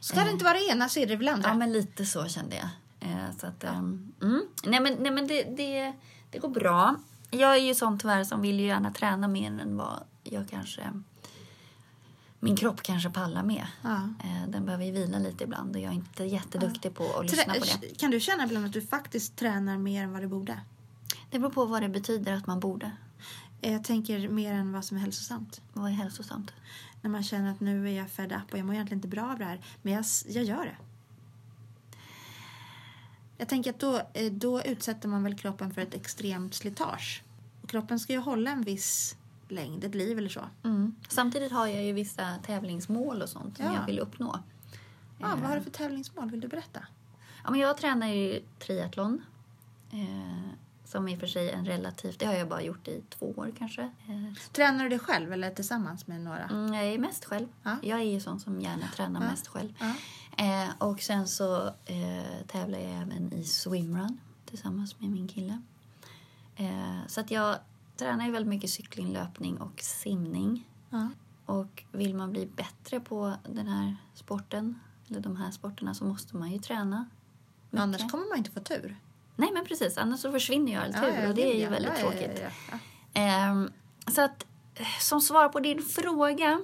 [SPEAKER 2] Ska det inte vara det ena så är det väl andra.
[SPEAKER 1] Ja, men lite så kände jag. Eh, så att, ehm, mm. Nej, men, nej, men det, det, det går bra. Jag är ju sån tyvärr som vill ju gärna träna mer än vad jag kanske... Min kropp kanske pallar med.
[SPEAKER 2] Ja.
[SPEAKER 1] Eh, den behöver ju vila lite ibland och jag är inte jätteduktig på att lyssna på det.
[SPEAKER 2] Trä- Kan du känna ibland att du faktiskt tränar mer än vad du borde?
[SPEAKER 1] Det beror på vad det betyder att man borde.
[SPEAKER 2] Eh, Jag tänker mer än vad som är hälsosamt.
[SPEAKER 1] Vad är hälsosamt?
[SPEAKER 2] När man känner att nu är jag fed up och jag mår egentligen inte bra av det här. Men jag, s- jag gör det. Jag tänker att då, eh, då utsätter man väl kroppen för ett extremt slitage. Och kroppen ska ju hålla en viss längd, ett liv eller så.
[SPEAKER 1] Mm. Samtidigt har jag ju vissa tävlingsmål och sånt som
[SPEAKER 2] Ja.
[SPEAKER 1] jag vill uppnå.
[SPEAKER 2] Ja, vad har
[SPEAKER 1] Eh.
[SPEAKER 2] du för tävlingsmål? Vill du berätta?
[SPEAKER 1] Ja, men jag tränar ju triathlon. Eh, som i och för sig är en relativt... Det har jag bara gjort i två år kanske. Eh,
[SPEAKER 2] Tränar du dig själv eller tillsammans med några?
[SPEAKER 1] mm, jag är mest själv.
[SPEAKER 2] Ja.
[SPEAKER 1] Jag är ju sån som gärna tränar
[SPEAKER 2] Ja.
[SPEAKER 1] mest själv.
[SPEAKER 2] Ja.
[SPEAKER 1] Eh, och sen så eh, tävlar jag även i swimrun tillsammans med min kille. Eh, så att jag tränar ju väldigt mycket cykling, löpning och simning.
[SPEAKER 2] Ja.
[SPEAKER 1] Och vill man bli bättre på den här sporten, eller de här sporterna, så måste man ju träna. mycket.
[SPEAKER 2] Annars kommer man inte få tur.
[SPEAKER 1] Nej men precis, annars så försvinner ju all tur och det är ju
[SPEAKER 2] ja,
[SPEAKER 1] väldigt
[SPEAKER 2] ja,
[SPEAKER 1] tråkigt.
[SPEAKER 2] Ja, ja,
[SPEAKER 1] Ehm, så att eh, som svar på din fråga,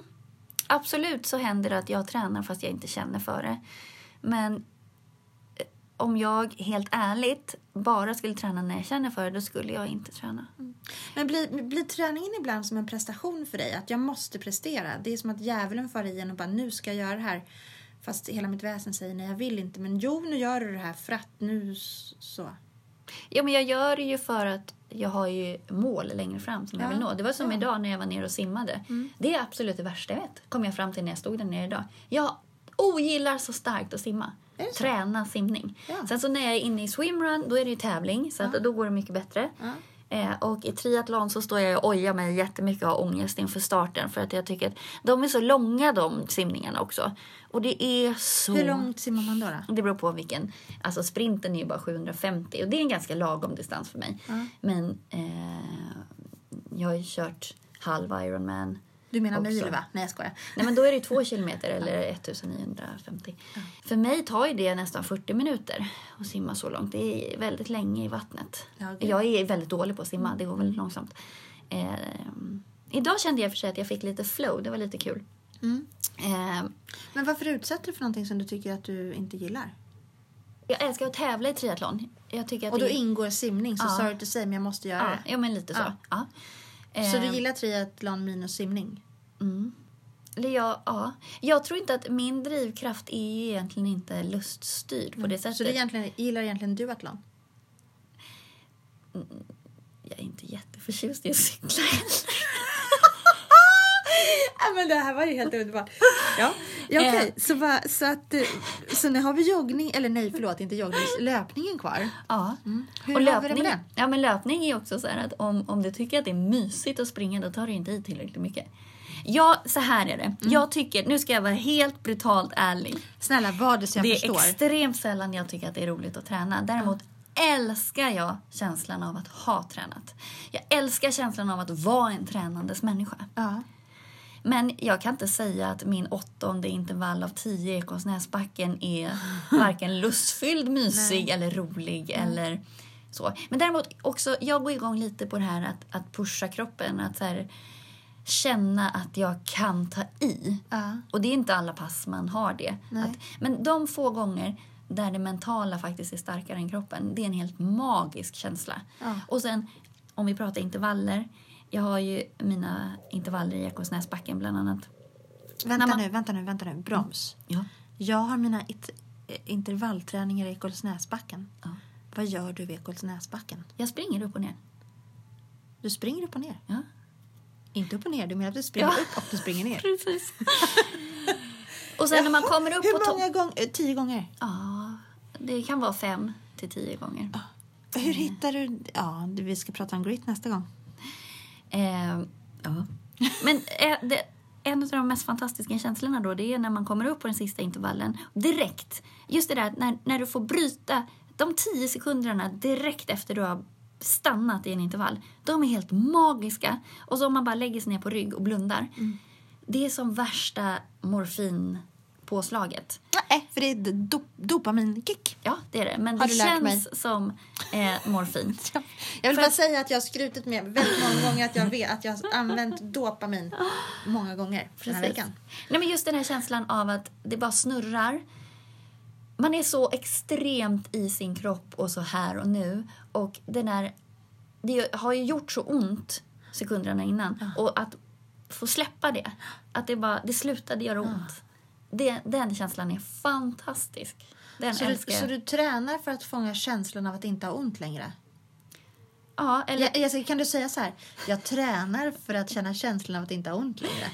[SPEAKER 1] absolut så händer det att jag tränar fast jag inte känner för det. Men eh, om jag helt ärligt bara skulle träna när jag känner för det, då skulle jag inte träna.
[SPEAKER 2] ja. Men blir, blir träningen ibland som en prestation för dig? Att jag måste prestera? Det är som att djävulen far igen och bara nu ska jag göra det här. Fast hela mitt väsen säger nej, jag vill inte. Men jo, nu gör du det här för att nu s- så.
[SPEAKER 1] Ja, men jag gör det ju för att jag har ju mål längre fram som jag
[SPEAKER 2] Ja.
[SPEAKER 1] vill nå. Det var som
[SPEAKER 2] Ja. Mm.
[SPEAKER 1] idag när jag var nere och simmade. Det är absolut det värsta jag vet, kom jag fram till när jag stod där nere idag. Jag ogillar så starkt att simma.
[SPEAKER 2] Är det så?
[SPEAKER 1] Träna simning.
[SPEAKER 2] Ja.
[SPEAKER 1] Sen så när jag är inne i swimrun, då är det ju tävling, så att då går det mycket bättre.
[SPEAKER 2] Ja.
[SPEAKER 1] Eh, och i triathlon så står jag och ojar mig jättemycket och har ångest inför starten för att jag tycker att de är så långa de simningarna också. Och det är så
[SPEAKER 2] Hur långt simmar man då? då?
[SPEAKER 1] det beror på vilken. Alltså sprinten är ju bara 750 och det är en ganska lagom distans för mig.
[SPEAKER 2] Ja.
[SPEAKER 1] Men eh, jag har ju kört halv Ironman.
[SPEAKER 2] Du menar
[SPEAKER 1] Också.
[SPEAKER 2] mil, va? Nej, jag skojar.
[SPEAKER 1] Nej men då är det ju två
[SPEAKER 2] <laughs>
[SPEAKER 1] kilometer eller 1950. För mig tar ju det nästan 40 minuter att simma så långt. Det är väldigt länge i vattnet.
[SPEAKER 2] Ja, okej. Mm.
[SPEAKER 1] Jag är väldigt dålig på att simma, det går väldigt långsamt. Eh, idag kände jag i och för sig att jag fick lite flow, det var lite kul.
[SPEAKER 2] Mm.
[SPEAKER 1] Eh,
[SPEAKER 2] Men varför utsätter du för någonting som du tycker att du inte gillar?
[SPEAKER 1] jag älskar att tävla i triathlon. Jag tycker att
[SPEAKER 2] Och då
[SPEAKER 1] det är-
[SPEAKER 2] ingår simning, så
[SPEAKER 1] Ja.
[SPEAKER 2] sorry to say, men jag måste göra
[SPEAKER 1] Ja, ja men lite så.
[SPEAKER 2] Ja. ehm.
[SPEAKER 1] Ja.
[SPEAKER 2] det. Så du
[SPEAKER 1] Eh,
[SPEAKER 2] gillar triathlon minus simning?
[SPEAKER 1] Mm. Eller jag, ja. jag tror inte att min drivkraft är ju egentligen inte luststyrd på det sättet.
[SPEAKER 2] Mm. Så du egentligen, gillar egentligen duathlon?
[SPEAKER 1] Jag är inte jätteförtjust i att
[SPEAKER 2] <laughs>
[SPEAKER 1] cykla heller.
[SPEAKER 2] Ja, men det här var ju
[SPEAKER 1] <laughs>
[SPEAKER 2] helt underbart. Ja, ja okej. Så, va, så, att, eh, så nu har vi joggning, eller nej förlåt, inte joggning, löpningen kvar.
[SPEAKER 1] Ja.
[SPEAKER 2] Mm. Hur
[SPEAKER 1] Mm. och
[SPEAKER 2] har vi det
[SPEAKER 1] löpning,
[SPEAKER 2] med det?
[SPEAKER 1] ja, men löpning är också så här att om, om du tycker att det är mysigt att springa då tar du inte i tillräckligt mycket. Ja, så här är det.
[SPEAKER 2] Mm.
[SPEAKER 1] Jag tycker, nu ska jag vara helt brutalt ärlig.
[SPEAKER 2] Snälla, var det så jag
[SPEAKER 1] det
[SPEAKER 2] förstår.
[SPEAKER 1] är extremt sällan jag tycker att det är roligt att träna. Däremot älskar jag känslan av att ha tränat. Jag älskar känslan av att vara en tränandes människa.
[SPEAKER 2] ja.
[SPEAKER 1] Men jag kan inte säga att min åttonde intervall av tio i Ekonsnäsbacken är
[SPEAKER 2] <laughs>
[SPEAKER 1] varken lustfylld, mysig eller rolig
[SPEAKER 2] Mm.
[SPEAKER 1] eller så. Men däremot också, jag går igång lite på det här att, att pusha kroppen, att så här, känna att jag kan ta i.
[SPEAKER 2] Ja.
[SPEAKER 1] Och det är inte alla pass man har det.
[SPEAKER 2] Nej.
[SPEAKER 1] Att, men de få gånger där det mentala faktiskt är starkare än kroppen, det är en helt magisk känsla.
[SPEAKER 2] Ja.
[SPEAKER 1] Och sen, om vi pratar intervaller, jag har ju mina intervaller i Ekosnäsbacken bland annat.
[SPEAKER 2] Vänta
[SPEAKER 1] När man-
[SPEAKER 2] nu, vänta nu, vänta nu. Broms.
[SPEAKER 1] Ja.
[SPEAKER 2] Jag har mina it- eh, intervallträningar i Ekolsnäsbacken.
[SPEAKER 1] Ja.
[SPEAKER 2] Vad gör du i Ekolsnäsbacken?
[SPEAKER 1] Jag springer upp och ner.
[SPEAKER 2] Du springer upp och ner.
[SPEAKER 1] Ja.
[SPEAKER 2] Inte upp och ner, du menar att du springer
[SPEAKER 1] Ja.
[SPEAKER 2] upp och du springer ner. <laughs>
[SPEAKER 1] Precis. och sen när man
[SPEAKER 2] Jaha,
[SPEAKER 1] kommer upp på
[SPEAKER 2] Hur
[SPEAKER 1] topp...
[SPEAKER 2] många gånger? eh, Tio gånger?
[SPEAKER 1] Ja, det kan vara fem till tio gånger.
[SPEAKER 2] Ah. Hur hittar du... Ja, vi ska prata om grit nästa gång.
[SPEAKER 1] Eh, ja. Men eh, det, en av de mest fantastiska känslorna då, det är när man kommer upp på den sista intervallen direkt. Just det där att när, när du får bryta de tio sekunderna direkt efter du har stannat i en intervall. De är helt magiska. Och så om man bara lägger sig ner på rygg och blundar.
[SPEAKER 2] Mm.
[SPEAKER 1] Det är som värsta morfinpåslaget.
[SPEAKER 2] Nej, Eh, för det är do, dopaminkick.
[SPEAKER 1] Ja, det är det. Men
[SPEAKER 2] Har
[SPEAKER 1] det
[SPEAKER 2] du lärt
[SPEAKER 1] känns
[SPEAKER 2] mig?
[SPEAKER 1] som eh,
[SPEAKER 2] <laughs>
[SPEAKER 1] morfin.
[SPEAKER 2] Jag vill bara säga att jag har skrutit med väldigt många gånger att jag vet att jag har använt dopamin många gånger den här veckan.
[SPEAKER 1] Nej, men just den här känslan av att det bara snurrar. Man är så extremt i sin kropp och så här och nu. Och den här, det har ju gjort så ont sekunderna innan. Och att få släppa det, att det, bara, det slutade göra ont. Det, den känslan är fantastisk. Den
[SPEAKER 2] Så du,
[SPEAKER 1] älskar jag.
[SPEAKER 2] så du tränar för att fånga känslan av att inte ha ont längre?
[SPEAKER 1] Ja, eller
[SPEAKER 2] Ja, Jessica, kan du säga så här? Jag tränar för att känna känslan av att inte ha ont längre.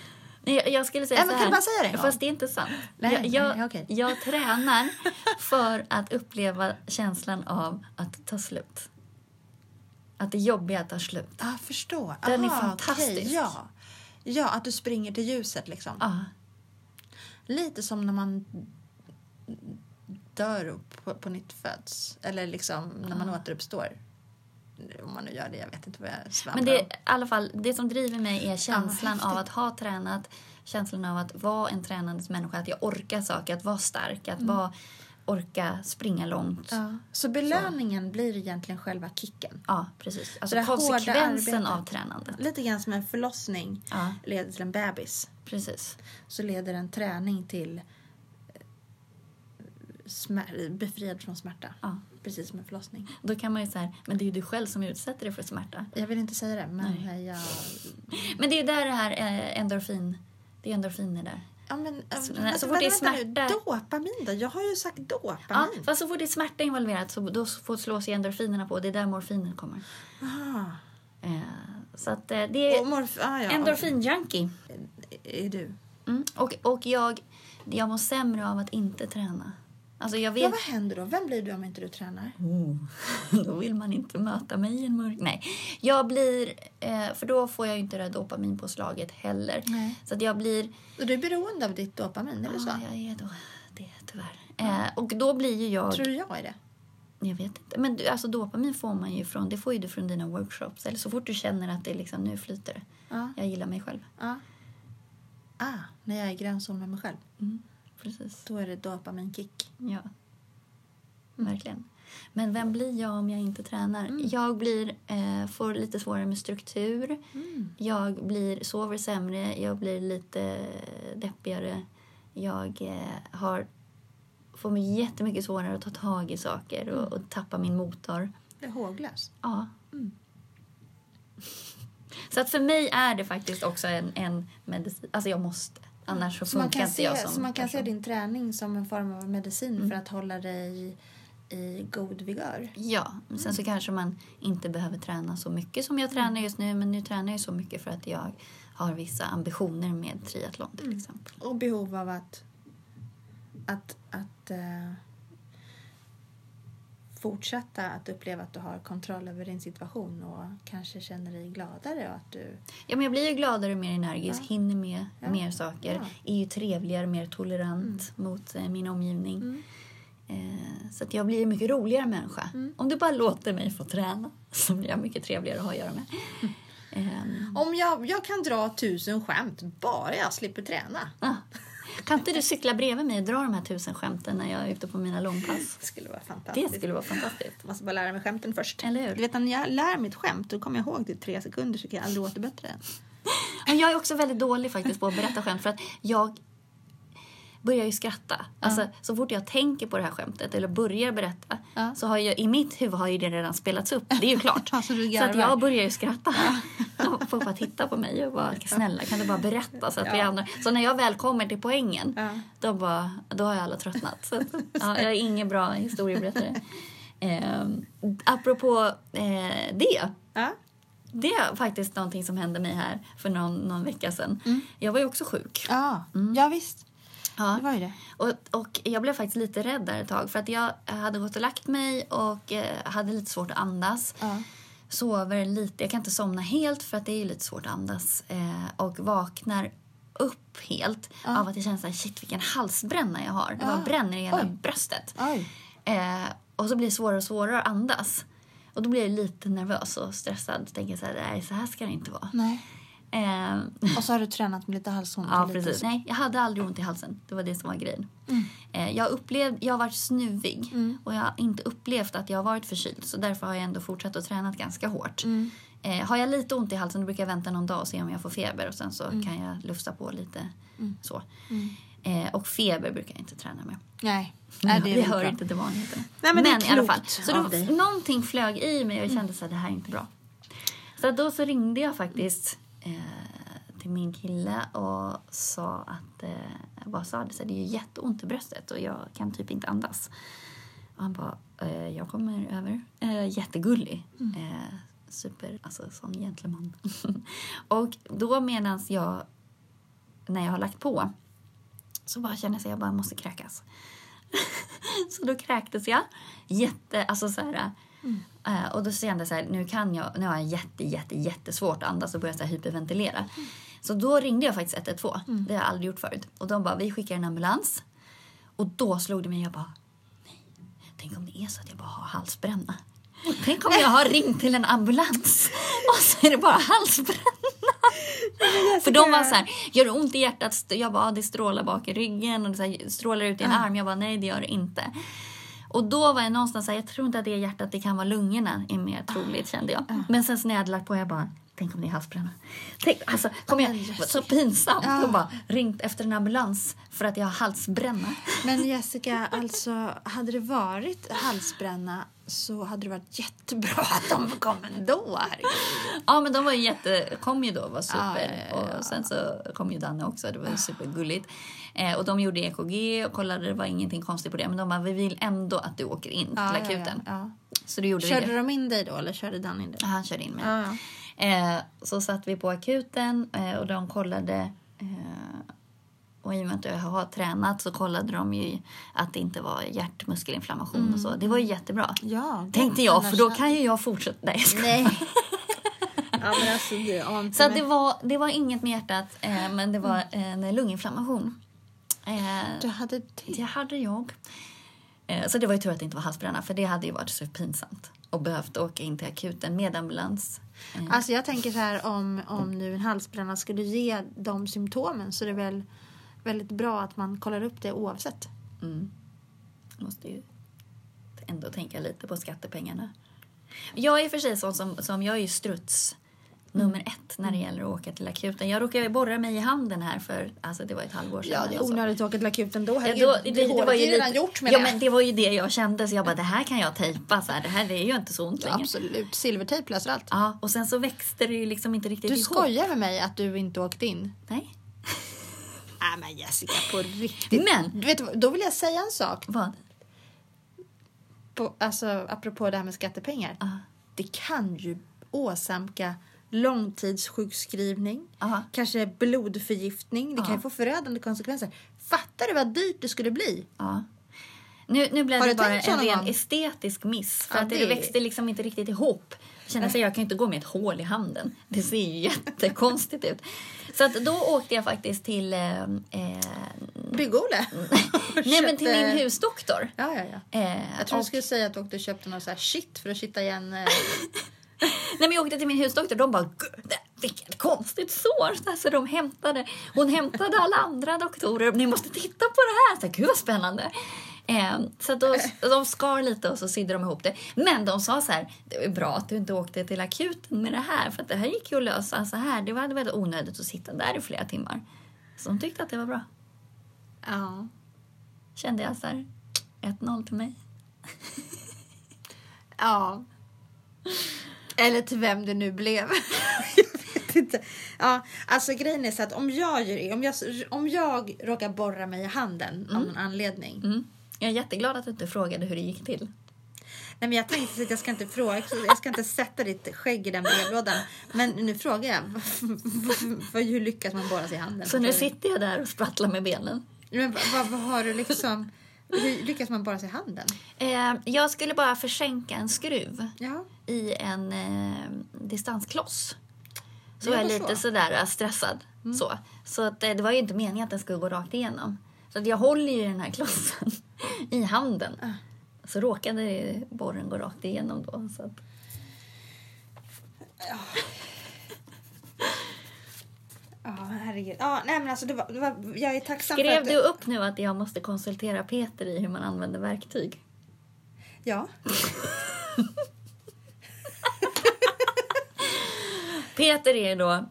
[SPEAKER 1] jag, jag skulle säga
[SPEAKER 2] Nej,
[SPEAKER 1] så
[SPEAKER 2] men
[SPEAKER 1] här.
[SPEAKER 2] kan du bara säga det en gång?
[SPEAKER 1] Fast det är inte sant.
[SPEAKER 2] Nej,
[SPEAKER 1] jag, jag,
[SPEAKER 2] nej, okej.
[SPEAKER 1] jag tränar för att uppleva känslan av att ta slut. Att det jobbiga tar slut.
[SPEAKER 2] Ja, ah, förstå.
[SPEAKER 1] Den är
[SPEAKER 2] Aha,
[SPEAKER 1] fantastisk.
[SPEAKER 2] okej, ja. ja, att du springer till ljuset liksom.
[SPEAKER 1] Ja,
[SPEAKER 2] Lite som när man dör och på, på nytt föds. Eller liksom när man återuppstår. Om man nu gör det, jag vet inte vad jag svamlar
[SPEAKER 1] men
[SPEAKER 2] det...
[SPEAKER 1] det, i alla fall, det som driver mig är känslan
[SPEAKER 2] häftigt.
[SPEAKER 1] av att ha tränat, känslan av att vara en tränandes människa, att jag orkar saker, att vara stark, att vara, orka springa långt. Ja,
[SPEAKER 2] Mm. ja. Så belöningen blir egentligen själva kicken.
[SPEAKER 1] precis. Alltså
[SPEAKER 2] det här hårda
[SPEAKER 1] konsekvensen
[SPEAKER 2] arbetet.
[SPEAKER 1] av tränandet.
[SPEAKER 2] Lite grann som en förlossning
[SPEAKER 1] Ja,
[SPEAKER 2] leder till en bebis.
[SPEAKER 1] precis.
[SPEAKER 2] Så leder en träning till eh, smär- befriad från smärta.
[SPEAKER 1] Ja.
[SPEAKER 2] Precis som en förlossning.
[SPEAKER 1] Då kan man ju säga, men det är ju du själv som utsätter dig för smärta.
[SPEAKER 2] Jag vill inte säga det, men
[SPEAKER 1] Nej.
[SPEAKER 2] eh, jag...
[SPEAKER 1] Men det är ju där det här eh, endorfin, det är endorfiner där.
[SPEAKER 2] Ja, men, eh,
[SPEAKER 1] Så-
[SPEAKER 2] vänta,
[SPEAKER 1] så fort det är
[SPEAKER 2] vänta nu.
[SPEAKER 1] smärta-
[SPEAKER 2] Dopamin då? Jag har ju sagt dopamin.
[SPEAKER 1] Ja, fast så fort det är smärta involverat så då får slås ju endorfinerna på, det är där morfinen kommer.
[SPEAKER 2] Aha.
[SPEAKER 1] Eh, så att eh, det
[SPEAKER 2] Och
[SPEAKER 1] är
[SPEAKER 2] morf- ah, ja.
[SPEAKER 1] endorfinjunkie.
[SPEAKER 2] Är du?
[SPEAKER 1] Mm. Och, och jag, jag mår sämre av att inte träna. Alltså jag
[SPEAKER 2] Ja,
[SPEAKER 1] vet...
[SPEAKER 2] vad händer då? Vem blir du om inte du tränar?
[SPEAKER 1] Oh, <laughs> då vill man inte möta mig i en mörk... Nej. Jag blir... Eh, för då får jag ju inte det här dopaminpåslaget heller.
[SPEAKER 2] Nej.
[SPEAKER 1] Så att jag blir...
[SPEAKER 2] Och du är beroende av ditt dopamin, är det så?
[SPEAKER 1] Ja, jag är då det, tyvärr. Eh, och då blir ju jag...
[SPEAKER 2] Tror du jag är det?
[SPEAKER 1] Jag vet inte. Men du, alltså dopamin får man ju från... Det får ju du från dina workshops. Eller så fort du känner att det liksom, nu flyter det.
[SPEAKER 2] Ja.
[SPEAKER 1] Jag gillar mig själv.
[SPEAKER 2] ja. Ah, när jag är i gränszon med mig själv,
[SPEAKER 1] Precis.
[SPEAKER 2] då är det dopaminkick.
[SPEAKER 1] Ja. Verkligen. Men vem blir jag om jag inte tränar? Jag blir, eh, får lite svårare med struktur. Mm. Jag blir, sover sämre. Jag blir lite deppigare. Jag eh, har, får mig jättemycket svårare att ta tag i saker och, och tappa min motor.
[SPEAKER 2] Det är håglös.
[SPEAKER 1] Ja. Mm. Så att för mig är det faktiskt också en, en medicin. Alltså jag måste. Annars så
[SPEAKER 2] Så man
[SPEAKER 1] funkar
[SPEAKER 2] kan,
[SPEAKER 1] inte
[SPEAKER 2] se,
[SPEAKER 1] jag som
[SPEAKER 2] så man kan se
[SPEAKER 1] person. Mm.
[SPEAKER 2] din träning som en form av medicin för att hålla dig i god vigör.
[SPEAKER 1] Ja, men sen
[SPEAKER 2] Mm.
[SPEAKER 1] så kanske man inte behöver träna så mycket som jag tränar just nu. Men nu tränar jag ju så mycket för att jag har vissa ambitioner med triathlon
[SPEAKER 2] Mm.
[SPEAKER 1] till exempel.
[SPEAKER 2] Och behov av att, att, att eh, fortsätta att uppleva att du har kontroll över din situation och kanske känner dig gladare och att du...
[SPEAKER 1] Ja, men jag blir ju gladare och mer energisk,
[SPEAKER 2] Ja.
[SPEAKER 1] hinner med
[SPEAKER 2] Ja.
[SPEAKER 1] mer saker.
[SPEAKER 2] Ja. Mm.
[SPEAKER 1] Är ju trevligare, mer tolerant mot eh, min omgivning. Eh, så att jag blir en mycket roligare människa.
[SPEAKER 2] Mm.
[SPEAKER 1] Om du bara låter mig få träna <laughs> så blir jag mycket trevligare att ha att göra med. Ehm,
[SPEAKER 2] Om jag, jag kan dra tusen skämt bara jag slipper träna.
[SPEAKER 1] ah. Kan inte du cykla bredvid mig och dra de här tusen skämten när jag är ute på mina långpass?
[SPEAKER 2] Det skulle vara fantastiskt.
[SPEAKER 1] Det skulle vara fantastiskt.
[SPEAKER 2] Jag måste bara lära mig skämten först.
[SPEAKER 1] Eller hur?
[SPEAKER 2] Du vet, när jag lär mig ett skämt då kommer jag ihåg det i tre sekunder så kan jag aldrig återbättra det.
[SPEAKER 1] Men jag är också väldigt dålig faktiskt på att berätta skämt för att jag börjar ju skratta. Alltså, Så fort jag tänker på det här skämtet eller börjar berätta
[SPEAKER 2] Ja.
[SPEAKER 1] så har jag, i mitt huvud har ju det redan spelats upp. Det är ju klart.
[SPEAKER 2] <laughs> Ja, så du
[SPEAKER 1] så att
[SPEAKER 2] garvar.
[SPEAKER 1] jag börjar ju skratta. <laughs> Och Folk bara tittar på mig och bara snälla kan du bara berätta så att vi
[SPEAKER 2] Ja.
[SPEAKER 1] andra... Så när jag väl kommer till poängen
[SPEAKER 2] Ja.
[SPEAKER 1] då, bara, då har ju alla tröttnat. Så, att- ja, jag är ingen bra historieberättare.
[SPEAKER 2] <laughs>
[SPEAKER 1] Eh, apropå eh, det
[SPEAKER 2] Ja.
[SPEAKER 1] det är faktiskt någonting som hände mig här för någon, någon vecka sedan.
[SPEAKER 2] Mm.
[SPEAKER 1] Jag var ju också sjuk.
[SPEAKER 2] Ja, ja visst.
[SPEAKER 1] Ja.
[SPEAKER 2] Det var ju det.
[SPEAKER 1] Och, och jag blev faktiskt lite rädd där ett tag för att jag hade gått och lagt mig och eh, hade lite svårt att andas.
[SPEAKER 2] Ja.
[SPEAKER 1] Sover lite, jag kan inte somna helt för att det är ju lite svårt att andas. Eh, och vaknar upp helt av att jag känner så här, shit vilken halsbränna jag har. Det bara
[SPEAKER 2] Ja.
[SPEAKER 1] bränner i hela
[SPEAKER 2] Oj.
[SPEAKER 1] bröstet.
[SPEAKER 2] Oj.
[SPEAKER 1] Eh, och så blir det svårare och svårare att andas. Och då blir jag lite nervös och stressad. Tänker så här, nej så här ska det inte vara.
[SPEAKER 2] Nej. Mm.
[SPEAKER 1] Eh,
[SPEAKER 2] Och så har du tränat med lite halsont. och
[SPEAKER 1] Ja,
[SPEAKER 2] lite
[SPEAKER 1] precis.
[SPEAKER 2] så.
[SPEAKER 1] Nej, jag hade aldrig ont i halsen. Det var det som var grejen. Eh, Jag, upplevde, jag har varit snuvig och jag har inte upplevt att jag har varit förkyld. Så därför har jag ändå fortsatt att träna ganska hårt. Eh, har jag lite ont i halsen då brukar jag vänta någon dag och se om jag får feber och sen så kan jag lufsa på lite så. Eh, och feber brukar jag inte träna med.
[SPEAKER 2] Nej. Nej, det är
[SPEAKER 1] Mm. vi
[SPEAKER 2] väl
[SPEAKER 1] hör
[SPEAKER 2] bra.
[SPEAKER 1] inte till vanligheterna.
[SPEAKER 2] Nej, men det är
[SPEAKER 1] i alla fall.
[SPEAKER 2] klokt
[SPEAKER 1] Så
[SPEAKER 2] av dig. Mm.
[SPEAKER 1] då, någonting flög i mig och jag kände så att det här är inte bra. Så att då så ringde jag faktiskt eh, till min kille och sa att, eh, vad sa det? Så här, det är ju jätteont i bröstet och jag kan typ inte
[SPEAKER 2] Mm.
[SPEAKER 1] andas. Och han bara, eh, jag kommer över. Eh, jättegullig. Eh, super, alltså sån gentleman. <laughs> och då medans jag, när jag har lagt på, så bara känner jag att jag bara måste kräkas. <laughs> så då kräktes jag. Jätte, alltså så här. eh, Och då kände jag så här, nu kan jag, nu har jag jätte, jätte, jättesvårt att andas och börjar så här hyperventilera. Så då ringde jag faktiskt 112, det har jag aldrig gjort förut. Och de bara, vi skickar en ambulans. Och då slog det mig, jag bara, Tänk om det är så att jag bara har halsbränna. Tänk om jag har ringt till en ambulans <laughs> och så är det bara halsbränna. För de var så här, gör det ont i hjärtat? St- Jag bara, ah, det strålar bak i ryggen och det så här, strålar ut i en arm. Jag bara, nej det gör det inte. Och då var jag någonstans så här, jag tror inte att det är hjärtat, det kan vara lungorna är mer troligt kände jag. Men sen så när jag hade lagt på, jag bara, tänk om det är halsbränna. Tänk, alltså, kom igen,
[SPEAKER 2] Men Jessica.
[SPEAKER 1] så pinsamt.
[SPEAKER 2] Ja.
[SPEAKER 1] Jag bara ringt efter en ambulans för att jag har halsbränna.
[SPEAKER 2] Men Jessica, alltså hade det varit halsbränna så hade det varit jättebra att de kom ändå.
[SPEAKER 1] Ja, men de var ju jätte, kom ju då och var super.
[SPEAKER 2] Ah, Ja, ja, ja.
[SPEAKER 1] Och sen så kom ju Danne också, det var ju supergulligt. Eh, och de gjorde EKG och kollade, det var ingenting konstigt på det. Men de bara, vi vill ändå att du åker in
[SPEAKER 2] Ah, Ja,
[SPEAKER 1] till
[SPEAKER 2] ja,
[SPEAKER 1] akuten.
[SPEAKER 2] ja,
[SPEAKER 1] Så du gjorde
[SPEAKER 2] ja.
[SPEAKER 1] vi
[SPEAKER 2] Körde
[SPEAKER 1] det.
[SPEAKER 2] de in dig då eller körde Dan in dig?
[SPEAKER 1] Han körde in mig.
[SPEAKER 2] Ja, ja.
[SPEAKER 1] Eh, så satt vi på akuten eh, och de kollade eh, och i och med att jag har tränat så kollade de ju att det inte var hjärtmuskelinflammation och så. Det var ju jättebra.
[SPEAKER 2] Mm. ja
[SPEAKER 1] Tänkte jag,
[SPEAKER 2] annars
[SPEAKER 1] för då
[SPEAKER 2] hade-
[SPEAKER 1] kan ju jag fortsätta. Nej, jag skojar.
[SPEAKER 2] Nej. <laughs> ja, men alltså du anar
[SPEAKER 1] Så att det, var, det var inget med hjärtat, eh, men det var
[SPEAKER 2] Mm.
[SPEAKER 1] en lunginflammation. Eh,
[SPEAKER 2] Du hade det.
[SPEAKER 1] det hade jag. Eh, så det var ju tur att det inte var halsbränna, för det hade ju varit så pinsamt och behövt åka in till akuten med ambulans. Eh,
[SPEAKER 2] Alltså jag tänker så här om, om nu en halsbränna skulle ge de symptomen så är det väl väldigt bra att man kollar upp det oavsett.
[SPEAKER 1] mm. Måste ju ändå tänka lite på skattepengarna. Jag är i och för sig sån som, som jag är ju struts nummer
[SPEAKER 2] Mm.
[SPEAKER 1] ett när det gäller att åka till akuten. Jag råkade ju borra mig i handen här för, alltså det var ett halvår sedan.
[SPEAKER 2] Ja, det
[SPEAKER 1] eller
[SPEAKER 2] är
[SPEAKER 1] så.
[SPEAKER 2] onödigt att åka till akuten då.
[SPEAKER 1] Ja,
[SPEAKER 2] Herregud,
[SPEAKER 1] då, det, det,
[SPEAKER 2] hålet
[SPEAKER 1] var
[SPEAKER 2] är
[SPEAKER 1] ju
[SPEAKER 2] redan
[SPEAKER 1] lite,
[SPEAKER 2] gjort med
[SPEAKER 1] ja,
[SPEAKER 2] det.
[SPEAKER 1] Men det var ju det jag kände, så jag bara det här kan jag tejpa, så här, det här är ju inte så ont
[SPEAKER 2] Ja,
[SPEAKER 1] längre.
[SPEAKER 2] Absolut, silvertejp löser allt.
[SPEAKER 1] Ja, och sen så växte det ju liksom inte riktigt
[SPEAKER 2] Du
[SPEAKER 1] ihop.
[SPEAKER 2] skojar med mig att du inte åkte in?
[SPEAKER 1] Nej. Ah,
[SPEAKER 2] Nej men Jessica, på riktigt.
[SPEAKER 1] Men,
[SPEAKER 2] Du vet, vad, då vill jag säga en sak,
[SPEAKER 1] vad?
[SPEAKER 2] på, alltså, apropå det här med skattepengar.
[SPEAKER 1] Ja.
[SPEAKER 2] Det kan ju åsamka långtidssjukskrivning,
[SPEAKER 1] Ja.
[SPEAKER 2] kanske blodförgiftning. Det kan
[SPEAKER 1] Ah.
[SPEAKER 2] ju få förödande konsekvenser. Fattar du vad dyrt det skulle bli?
[SPEAKER 1] Ja. Nu, nu blev
[SPEAKER 2] Har
[SPEAKER 1] det
[SPEAKER 2] du
[SPEAKER 1] bara
[SPEAKER 2] tänkt
[SPEAKER 1] en
[SPEAKER 2] så någon
[SPEAKER 1] ren
[SPEAKER 2] gång?
[SPEAKER 1] estetisk miss, för
[SPEAKER 2] Ja,
[SPEAKER 1] att det,
[SPEAKER 2] det-
[SPEAKER 1] växte liksom inte riktigt ihop. Jag kände att jag kan ju inte gå med ett hål i handen. Det ser ju jättekonstigt ut. Så att då åkte jag faktiskt till, eh, eh,
[SPEAKER 2] Bygg-Ole?
[SPEAKER 1] Mm.
[SPEAKER 2] <laughs>
[SPEAKER 1] nej, men till
[SPEAKER 2] Köpte-
[SPEAKER 1] min husdoktor.
[SPEAKER 2] eh, Ja, ja, ja.
[SPEAKER 1] Eh,
[SPEAKER 2] Jag tror
[SPEAKER 1] och-
[SPEAKER 2] du skulle säga att du åkte och köpte någon så här shit för att kitta
[SPEAKER 1] <laughs>
[SPEAKER 2] igen. eh,
[SPEAKER 1] Nej, men jag åkte till min husdoktor de bara "Gud, vilket konstigt sår. Så här, Så de hämtade, hon hämtade alla andra doktorer. Ni måste titta på det här. Så här Gud vad spännande. Eh, så att då, de skar lite och så sydde de ihop det. Men de sa så här, det är bra att du inte åkte till akuten med det här för att det här gick ju att lösa så här. Det var väldigt onödigt att sitta där i flera timmar. Så de tyckte att det var bra.
[SPEAKER 2] Ja.
[SPEAKER 1] Kände jag så här, 1-0 till mig.
[SPEAKER 2] Ja. Eller till vem det nu blev. <laughs> jag vet inte. Ja, alltså grejen är så att om jag gör det, om jag, om jag råkar borra mig i handen av någon anledning.
[SPEAKER 1] Mm. Jag är jätteglad att du inte frågade hur det gick till.
[SPEAKER 2] Nej men jag tänkte så att jag ska inte fråga, jag ska inte sätta ditt skägg i den brevlådan. Men nu frågar jag, för hur lyckas man borra sig i handen?
[SPEAKER 1] Så nu sitter jag där och sprattlar med benen.
[SPEAKER 2] Men vad, vad, vad har du liksom, hur lyckas man borra sig i handen?
[SPEAKER 1] Eh, jag skulle bara försänka en skruv
[SPEAKER 2] Ja.
[SPEAKER 1] i en eh, distanskloss. Så
[SPEAKER 2] Det
[SPEAKER 1] jag är
[SPEAKER 2] var
[SPEAKER 1] lite
[SPEAKER 2] så.
[SPEAKER 1] sådär eh, stressad.
[SPEAKER 2] Mm.
[SPEAKER 1] Så, så att, eh, det var ju inte meningen att den skulle gå rakt igenom. Så att jag håller ju den här klossen <laughs> i handen.
[SPEAKER 2] Ah.
[SPEAKER 1] Så råkade borren gå rakt igenom då. Så att,
[SPEAKER 2] Ja, herregud. Ja, nej men alltså det var, det var, jag är tacksam för
[SPEAKER 1] skrev
[SPEAKER 2] att
[SPEAKER 1] du upp nu att jag måste konsultera Peter i hur man använder verktyg?
[SPEAKER 2] Ja.
[SPEAKER 1] Peter är ju då...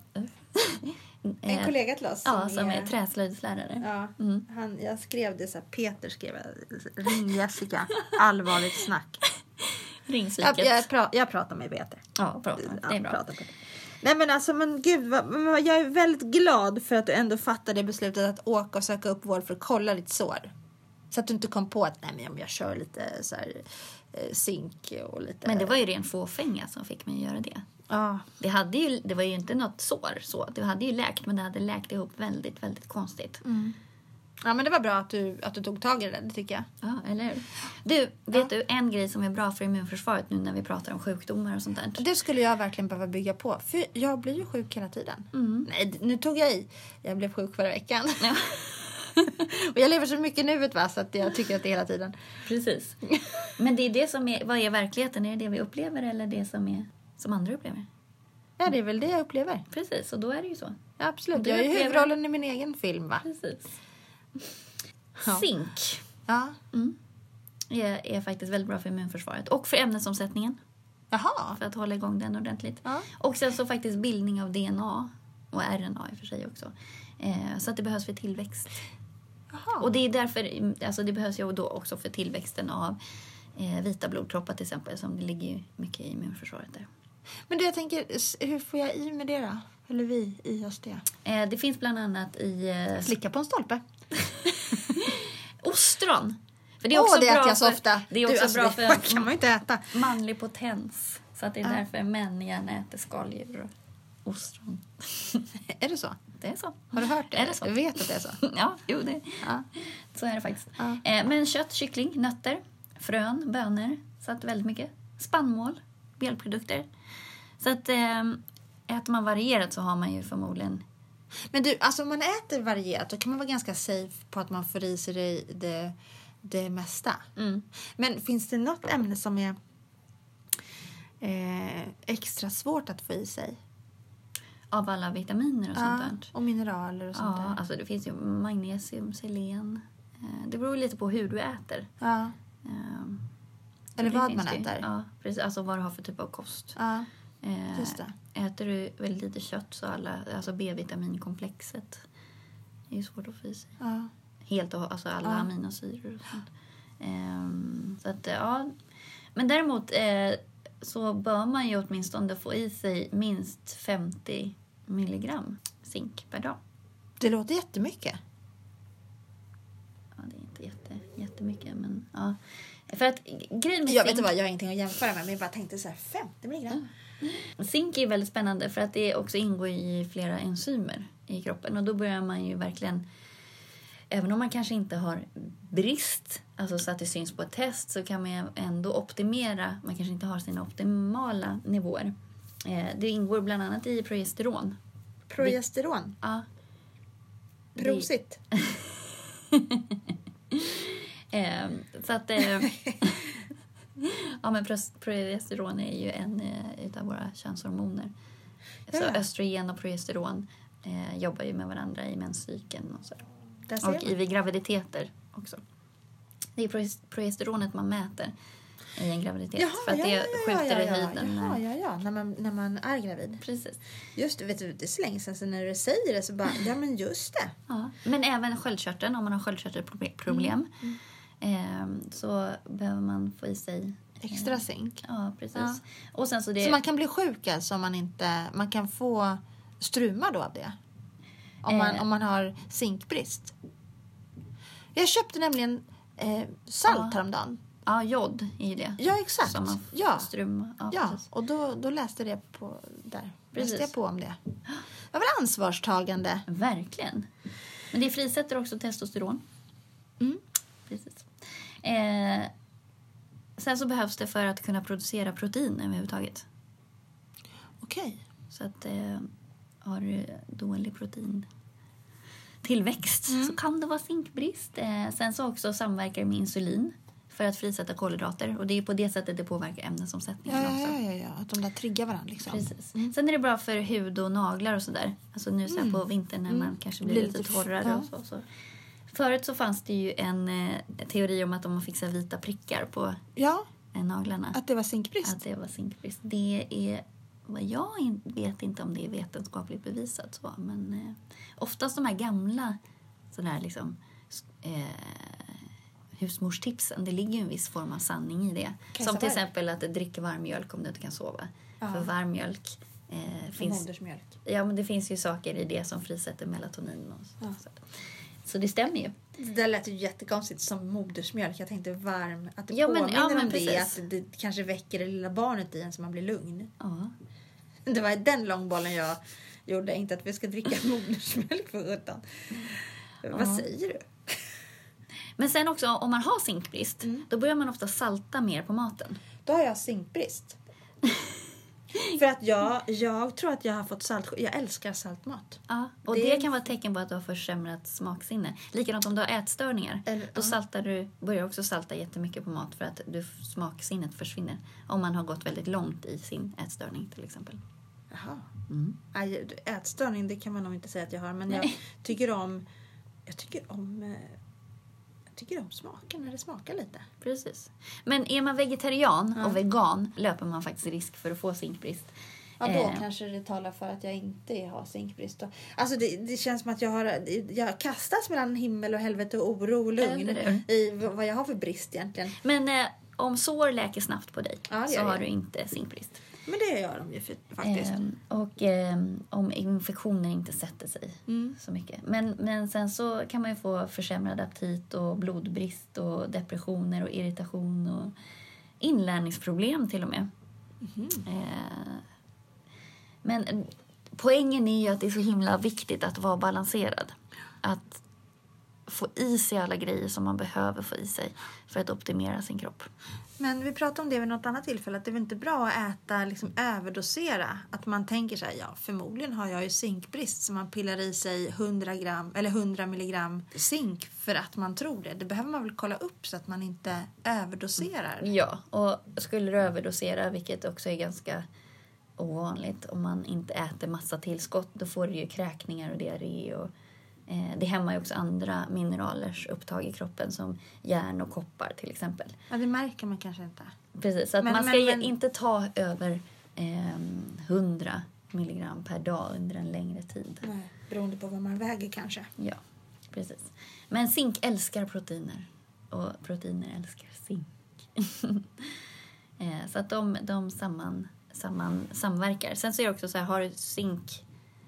[SPEAKER 2] En
[SPEAKER 1] eh,
[SPEAKER 2] kollega till oss.
[SPEAKER 1] Ja, som är träslöjdslärare.
[SPEAKER 2] Ja,
[SPEAKER 1] Mm.
[SPEAKER 2] han, jag skrev det så här, Peter skrev jag, ring <laughs> Jessica, allvarligt snack.
[SPEAKER 1] Ring psyket.
[SPEAKER 2] Jag,
[SPEAKER 1] Ja,
[SPEAKER 2] jag, pra, jag pratar med Peter.
[SPEAKER 1] prata. Det är
[SPEAKER 2] Ja,
[SPEAKER 1] bra.
[SPEAKER 2] pratar med Peter. Nej men alltså, men gud, vad, men vad- jag är väldigt glad för att du ändå fattade beslutet att åka och söka upp vård för att kolla ditt sår. Så att du inte kom på att nej, men om jag kör lite så här, eh, zink och lite...
[SPEAKER 1] Men det var ju ren fåfänga som fick mig att göra det.
[SPEAKER 2] Ja,
[SPEAKER 1] Det, hade ju, det var ju inte något sår, så. det hade ju läkt, men det hade läkt ihop väldigt, väldigt konstigt.
[SPEAKER 2] ja men det var bra att du, att du tog tag i det där, det tycker jag.
[SPEAKER 1] Ja, eller hur? Du, vet du en grej som är bra för immunförsvaret nu när vi pratar om sjukdomar och sånt där?
[SPEAKER 2] Det skulle jag verkligen behöva bygga på, för jag blir ju sjuk hela tiden. Nej, d- nu tog jag i. Jag blev sjuk förra veckan.
[SPEAKER 1] Mm. Ja,
[SPEAKER 2] <laughs> och jag lever så mycket i nuet va, så att jag tycker att det är hela tiden.
[SPEAKER 1] precis. <laughs> Men det är det som är, vad är verkligheten? Är det det vi upplever eller det som, är, som andra upplever?
[SPEAKER 2] Ja, det är väl det jag upplever.
[SPEAKER 1] Precis, och då är det ju så.
[SPEAKER 2] Ja, absolut.
[SPEAKER 1] Du
[SPEAKER 2] Jag är ju
[SPEAKER 1] upplever-
[SPEAKER 2] huvudrollen i min egen film va.
[SPEAKER 1] Precis.
[SPEAKER 2] Ja.
[SPEAKER 1] Zink
[SPEAKER 2] Ja.
[SPEAKER 1] är, är faktiskt väldigt bra för immunförsvaret och för ämnesomsättningen,
[SPEAKER 2] Jaha.
[SPEAKER 1] för att hålla igång den ordentligt.
[SPEAKER 2] Ja.
[SPEAKER 1] Och sen så faktiskt bildning av DNA och RNA i och för sig också. Eh, så att det behövs för tillväxt.
[SPEAKER 2] Jaha.
[SPEAKER 1] Och det är därför, alltså det behövs ju då också för tillväxten av eh, vita blodkroppar till exempel, som det ligger ju mycket i immunförsvaret där.
[SPEAKER 2] Men du, jag tänker, s- hur får jag i med det då? Eller vi i oss det?
[SPEAKER 1] Eh, det finns bland annat i eh,
[SPEAKER 2] Slicka på en stolpe.
[SPEAKER 1] ostron. För
[SPEAKER 2] Åh, det,
[SPEAKER 1] bra
[SPEAKER 2] äter jag så
[SPEAKER 1] för-
[SPEAKER 2] ofta.
[SPEAKER 1] Det är också
[SPEAKER 2] du, alltså,
[SPEAKER 1] bra
[SPEAKER 2] det <laughs>
[SPEAKER 1] för
[SPEAKER 2] kan man ju inte äta.
[SPEAKER 1] manlig potens. Så att det är
[SPEAKER 2] Ja.
[SPEAKER 1] därför män gärna äter skaldjur och ostron.
[SPEAKER 2] Är det så?
[SPEAKER 1] Det är så.
[SPEAKER 2] Har du hört det?
[SPEAKER 1] Är det så?
[SPEAKER 2] Du vet att det är så?
[SPEAKER 1] <laughs> Ja, jo, det,
[SPEAKER 2] Ja.
[SPEAKER 1] så är det faktiskt.
[SPEAKER 2] Ja.
[SPEAKER 1] Eh, men kött, kyckling, nötter, frön, bönor. Så att väldigt mycket. Spannmål, mjölkprodukter. Så att eh, äter man varierat så har man ju förmodligen...
[SPEAKER 2] Men du, alltså om man äter varierat då kan man vara ganska safe på att man får i sig det, det, det mesta. Men finns det något ämne som är eh, extra svårt att få i sig?
[SPEAKER 1] Av alla vitaminer och sånt där.
[SPEAKER 2] och mineraler och sånt
[SPEAKER 1] Ja,
[SPEAKER 2] där.
[SPEAKER 1] alltså det finns ju magnesium, selen. Eh, Det beror lite på hur du äter.
[SPEAKER 2] Ja.
[SPEAKER 1] Eh,
[SPEAKER 2] Eller
[SPEAKER 1] det
[SPEAKER 2] vad
[SPEAKER 1] finns
[SPEAKER 2] man
[SPEAKER 1] det ju.
[SPEAKER 2] äter. Ja.
[SPEAKER 1] Ja, precis. Alltså vad du har för typ av kost. Eh,
[SPEAKER 2] just det.
[SPEAKER 1] Äter du väldigt lite kött så alla, alltså B-vitaminkomplexet är ju svårt att få i sig.
[SPEAKER 2] Ja.
[SPEAKER 1] Helt och alltså alla
[SPEAKER 2] Ja.
[SPEAKER 1] aminosyror och sånt. Ehm, så att, eh, ja. Men däremot eh, så bör man ju åtminstone få i sig minst 50 milligram zink per dag.
[SPEAKER 2] Det låter jättemycket.
[SPEAKER 1] Ja, det är inte jätte, jättemycket men ja. För att grejen med
[SPEAKER 2] Jag vet
[SPEAKER 1] zink-
[SPEAKER 2] inte vad, jag har ingenting att jämföra med men jag bara tänkte så här 50 milligram.
[SPEAKER 1] Zink är väldigt spännande för att det också ingår i flera enzymer i kroppen och då börjar man ju verkligen Även om man kanske inte har brist, alltså så att det syns på ett test, så kan man ju ändå optimera. Man kanske inte har sina optimala nivåer. Eh, det ingår bland annat i progesteron.
[SPEAKER 2] Progesteron.
[SPEAKER 1] Ja, Det-
[SPEAKER 2] Prosit.
[SPEAKER 1] Eh, så att...
[SPEAKER 2] <laughs>
[SPEAKER 1] Eh, ja, men pros- progesteron är ju en eh, utav våra könshormoner. Så
[SPEAKER 2] Ja.
[SPEAKER 1] östrogen och progesteron eh, jobbar ju med varandra i menscykeln och så.
[SPEAKER 2] Där ser
[SPEAKER 1] Och
[SPEAKER 2] man.
[SPEAKER 1] i vid graviditeter också. Det är progest- progesteronet man mäter i en graviditet. för att det skjuter i höjden. när-
[SPEAKER 2] Jaha, ja, ja. När, man, när man är gravid.
[SPEAKER 1] Precis.
[SPEAKER 2] Just det, vet du, det är så länge sedan så när du säger det så bara, ja men just det.
[SPEAKER 1] Ja. Men även sköldkörteln, om man har sköldkörtelproblem
[SPEAKER 2] Mm,
[SPEAKER 1] eh, så behöver man få i sig...
[SPEAKER 2] Extra zink.
[SPEAKER 1] Ja, precis.
[SPEAKER 2] Ja.
[SPEAKER 1] Och sen så det...
[SPEAKER 2] Så man kan bli sjuk alltså om man inte, man kan få struma då av det? Om man,
[SPEAKER 1] Eh.
[SPEAKER 2] om man har zinkbrist? Jag köpte nämligen eh, salt
[SPEAKER 1] Ja.
[SPEAKER 2] häromdagen.
[SPEAKER 1] Ja, jod är ju det.
[SPEAKER 2] Ja, exakt.
[SPEAKER 1] Som man
[SPEAKER 2] ja.
[SPEAKER 1] får ström. Ja,
[SPEAKER 2] Ja,
[SPEAKER 1] precis.
[SPEAKER 2] och då, då läste det på där.
[SPEAKER 1] Precis.
[SPEAKER 2] Läste jag på om det. Det var väl ansvarstagande.
[SPEAKER 1] Verkligen. Men det frisätter också testosteron.
[SPEAKER 2] Mm.
[SPEAKER 1] Precis. Eh, sen så behövs det för att kunna producera protein överhuvudtaget.
[SPEAKER 2] Okej.
[SPEAKER 1] Så att eh, har du dålig protein tillväxt
[SPEAKER 2] Mm.
[SPEAKER 1] så kan det vara zinkbrist. Eh, sen så också samverkar det med insulin för att frisätta kolhydrater och det är på det sättet det påverkar
[SPEAKER 2] Ja,
[SPEAKER 1] ämnesomsättningen
[SPEAKER 2] ja,
[SPEAKER 1] också.
[SPEAKER 2] ja, ja, ja. Att de där triggar varandra liksom.
[SPEAKER 1] Precis. Sen är det bra för hud och naglar och sådär. Alltså nu så här på vintern när man kanske Mm. blir
[SPEAKER 2] Blir
[SPEAKER 1] lite
[SPEAKER 2] lite-
[SPEAKER 1] torrare
[SPEAKER 2] ja.
[SPEAKER 1] och så, så. Förut så fanns det ju en eh, teori om att om man fick så här vita prickar på
[SPEAKER 2] Ja,
[SPEAKER 1] eh, naglarna
[SPEAKER 2] att det var zinkbrist.
[SPEAKER 1] att det var zinkbrist. Det är vad jag in, vet inte om det är vetenskapligt bevisat så men eh, oftast de här gamla sådana här liksom s- eh, husmorstipsen, det ligger ju en viss form av sanning i det.
[SPEAKER 2] Kajsa
[SPEAKER 1] Som till
[SPEAKER 2] Warg.
[SPEAKER 1] exempel att dricka varm mjölk om du inte kan sova.
[SPEAKER 2] Ja.
[SPEAKER 1] För varm mjölk eh,
[SPEAKER 2] Från
[SPEAKER 1] finns
[SPEAKER 2] modersmjölk.
[SPEAKER 1] Ja, men det finns ju saker i det som frisätter melatonin. Och så.
[SPEAKER 2] Ja.
[SPEAKER 1] Så, Så det stämmer ju.
[SPEAKER 2] Det där lät ju jättekonstigt som modersmjölk. Jag tänkte varm. Att det
[SPEAKER 1] Ja, men- ja,
[SPEAKER 2] påminner
[SPEAKER 1] men
[SPEAKER 2] om det.
[SPEAKER 1] precis.
[SPEAKER 2] Att det kanske väcker det lilla barnet i en så man blir lugn.
[SPEAKER 1] Ja.
[SPEAKER 2] Det var den långbollen jag gjorde. Inte att vi ska dricka <laughs> modersmjölk för sjutton. Vad säger du?
[SPEAKER 1] Men sen också om man har zinkbrist, då börjar man ofta salta mer på maten.
[SPEAKER 2] Då har
[SPEAKER 1] <laughs>
[SPEAKER 2] jag zinkbrist. för att jag, jag tror att jag har fått salt. Jag älskar saltmat.
[SPEAKER 1] Ja, och
[SPEAKER 2] Det
[SPEAKER 1] det,
[SPEAKER 2] är-
[SPEAKER 1] kan vara ett tecken på att du har försämrat smaksinne. Likadant om du har ätstörningar.
[SPEAKER 2] Eller-
[SPEAKER 1] då
[SPEAKER 2] ja.
[SPEAKER 1] saltar du, börjar också salta jättemycket på mat för att du, smaksinnet försvinner. Om man har gått väldigt långt i sin ätstörning till exempel.
[SPEAKER 2] Jaha.
[SPEAKER 1] Mm.
[SPEAKER 2] Aj, Ätstörning, det kan man nog inte säga att jag har. Men jag
[SPEAKER 1] Nej.
[SPEAKER 2] tycker om... Jag tycker om... eh, Jag tycker om smaken, när det smakar lite.
[SPEAKER 1] Precis. Men är man vegetarian
[SPEAKER 2] Ja.
[SPEAKER 1] och vegan löper man faktiskt risk för att få zinkbrist.
[SPEAKER 2] Ja, då
[SPEAKER 1] Eh,
[SPEAKER 2] kanske det talar för att jag inte har zinkbrist. Då. Alltså det, det känns som att jag, har, jag kastas mellan himmel och helvete och oro och lugn
[SPEAKER 1] Eller
[SPEAKER 2] i v- vad jag har för brist egentligen.
[SPEAKER 1] Men eh, om sår läker snabbt på dig
[SPEAKER 2] Ja, det
[SPEAKER 1] så
[SPEAKER 2] gör
[SPEAKER 1] har
[SPEAKER 2] det.
[SPEAKER 1] du inte zinkbrist.
[SPEAKER 2] Men det gör de ju fi- faktiskt.
[SPEAKER 1] Ehm, och ehm, om infektioner inte sätter sig
[SPEAKER 2] Mm.
[SPEAKER 1] så mycket. Men, men sen så kan man ju få försämrad aptit och blodbrist och depressioner och irritation och inlärningsproblem till och med. Ehm, men poängen är ju att det är så himla viktigt att vara balanserad. Att få i sig alla grejer som man behöver få i sig för att optimera sin kropp.
[SPEAKER 2] Men vi pratade om det vid något annat tillfälle, att det är väl inte bra att äta, liksom överdosera. Att man tänker så här, ja förmodligen har jag ju zinkbrist så man pillar i sig 100 gram eller 100 milligram zink för att man tror det. Det behöver man väl kolla upp så att man inte överdoserar.
[SPEAKER 1] Ja, och skulle du överdosera, vilket också är ganska ovanligt om man inte äter massa tillskott, då får du ju kräkningar och diarré. Och, eh, det hämmar ju också andra mineralers upptag i kroppen som järn och koppar till exempel.
[SPEAKER 2] Ja, det märker man kanske inte.
[SPEAKER 1] Precis, så att
[SPEAKER 2] Men-
[SPEAKER 1] man ska
[SPEAKER 2] men-
[SPEAKER 1] ju
[SPEAKER 2] men-
[SPEAKER 1] inte ta över eh, 100 milligram per dag under en längre tid.
[SPEAKER 2] Nej, beroende på vad man väger kanske.
[SPEAKER 1] Ja, precis. Men zink älskar proteiner. Och proteiner älskar zink. <laughs> Eh, så att de, de samman, samman, samverkar. Sen så är det också så här, har du zink...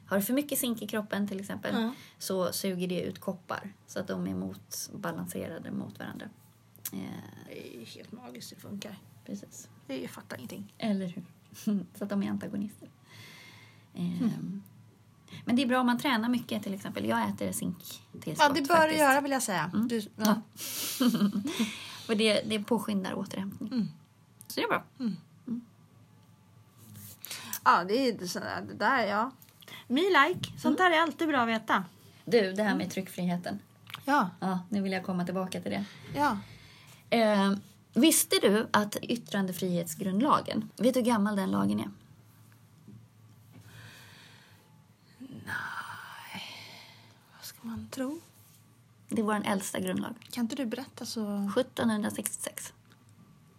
[SPEAKER 1] Har du för mycket zink i kroppen till exempel
[SPEAKER 2] Ja.
[SPEAKER 1] så suger det ut koppar. Så att de är mot, balanserade mot varandra. Eh,
[SPEAKER 2] Det är ju helt magiskt hur det funkar.
[SPEAKER 1] precis.
[SPEAKER 2] Det är ju- Jag fattar ingenting.
[SPEAKER 1] Eller hur? <laughs> så att de är antagonister. Eh,
[SPEAKER 2] Hmm.
[SPEAKER 1] Men det är bra om man tränar mycket till exempel. Jag äter zink
[SPEAKER 2] Ja, det bör du göra vill jag säga. Du, Mm. ja.
[SPEAKER 1] Och det, det påskyndar återhämtning.
[SPEAKER 2] Mm.
[SPEAKER 1] Så det är bra.
[SPEAKER 2] Ja, det är så där, det där ja. Me like, sånt där är alltid bra att veta.
[SPEAKER 1] Du, det här med tryckfriheten.
[SPEAKER 2] Ja,
[SPEAKER 1] Ja, nu vill jag komma tillbaka till det.
[SPEAKER 2] ja.
[SPEAKER 1] Eh, visste du att yttrandefrihetsgrundlagen, vet du hur gammal den lagen är?
[SPEAKER 2] Vad ska man tro?
[SPEAKER 1] Det är vår äldsta grundlag.
[SPEAKER 2] Kan inte du berätta så?
[SPEAKER 1] 1766.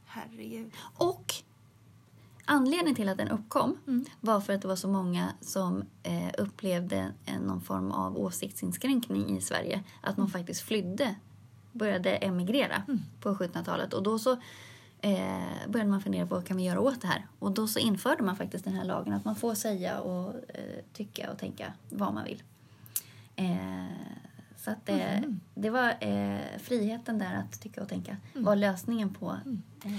[SPEAKER 2] Herregud.
[SPEAKER 1] Och anledningen till att den uppkom var för att det var så många som eh, upplevde en, någon form av åsiktsinskränkning i Sverige. Att man faktiskt flydde, började emigrera på 1700-talet. Och då så eh, började man fundera på vad kan vi göra åt det här? Och då så införde man faktiskt den här lagen att man får säga och eh, tycka och tänka vad man vill. Eh, så att eh, det var eh, friheten där att tycka och tänka var lösningen på eh,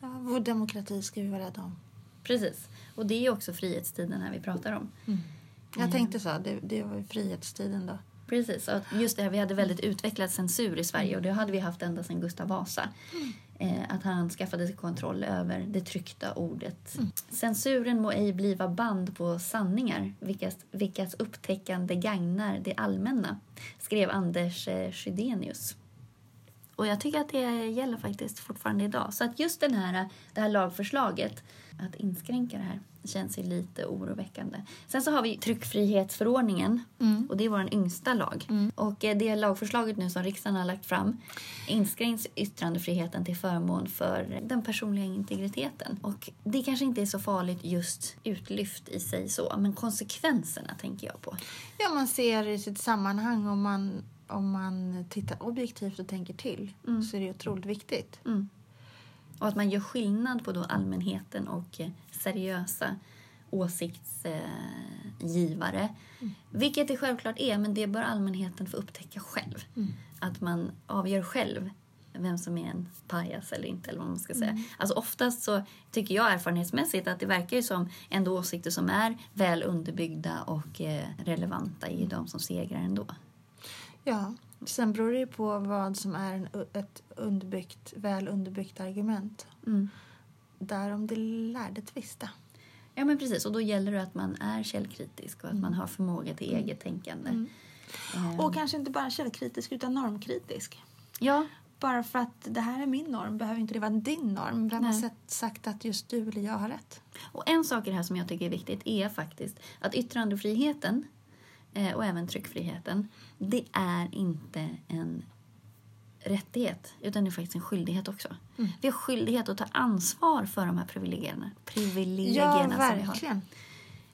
[SPEAKER 2] Ja, vår demokrati ska vi vara rädda om.
[SPEAKER 1] Precis. Och det är ju också frihetstiden här vi pratar om.
[SPEAKER 2] Jag tänkte så, det, det var ju frihetstiden då.
[SPEAKER 1] Precis. Och just det här, vi hade väldigt utvecklad censur i Sverige och det hade vi haft ända sedan Gustav Vasa. Eh, Att han skaffade sig kontroll över det tryckta ordet. Censuren må ej bliva band på sanningar vilkas, vilkas upptäckande gagnar det allmänna, skrev Anders eh, Chydenius. Och jag tycker att det gäller faktiskt fortfarande idag. Så att just den här, det här lagförslaget, att inskränka det här, känns ju lite oroväckande. Sen så har vi tryckfrihetsförordningen och det är vår yngsta lag. Och eh, det lagförslaget nu som riksdagen har lagt fram inskränks yttrandefriheten till förmån för den personliga integriteten. Och det kanske inte är så farligt just utlyft i sig så, men konsekvenserna tänker jag på.
[SPEAKER 2] Ja, man ser i sitt sammanhang om man, om man tittar objektivt och tänker till så är det otroligt viktigt.
[SPEAKER 1] Och att man gör skillnad på då allmänheten och eh, seriösa åsiktsgivare. Vilket det självklart är, men det bör allmänheten få upptäcka själv. Att man avgör själv vem som är en pajas eller inte. Eller vad man ska säga. Alltså oftast så tycker jag erfarenhetsmässigt att det verkar ju som ändå åsikter som är väl underbyggda och eh, relevanta är ju de som segrar ändå.
[SPEAKER 2] Ja, sen beror det ju på vad som är en, ett underbyggt, väl underbyggt argument.
[SPEAKER 1] Mm.
[SPEAKER 2] Därom det lärde tvista.
[SPEAKER 1] Ja men precis, och då gäller det att man är källkritisk och att man har förmåga till eget tänkande. Eh,
[SPEAKER 2] Mm. Och kanske inte bara källkritisk utan normkritisk.
[SPEAKER 1] ja,
[SPEAKER 2] Bara för att det här är min norm behöver inte det vara din norm. Vem har
[SPEAKER 1] Nej.
[SPEAKER 2] sett, sagt att just du eller jag har rätt?
[SPEAKER 1] Och en sak i det här som jag tycker är viktigt är faktiskt att yttrandefriheten eh, och även tryckfriheten, det är inte en rättighet utan det är faktiskt en skyldighet också.
[SPEAKER 2] Mm.
[SPEAKER 1] Vi har skyldighet att ta ansvar för de här privilegierna, privilegierna som vi har.
[SPEAKER 2] verkligen.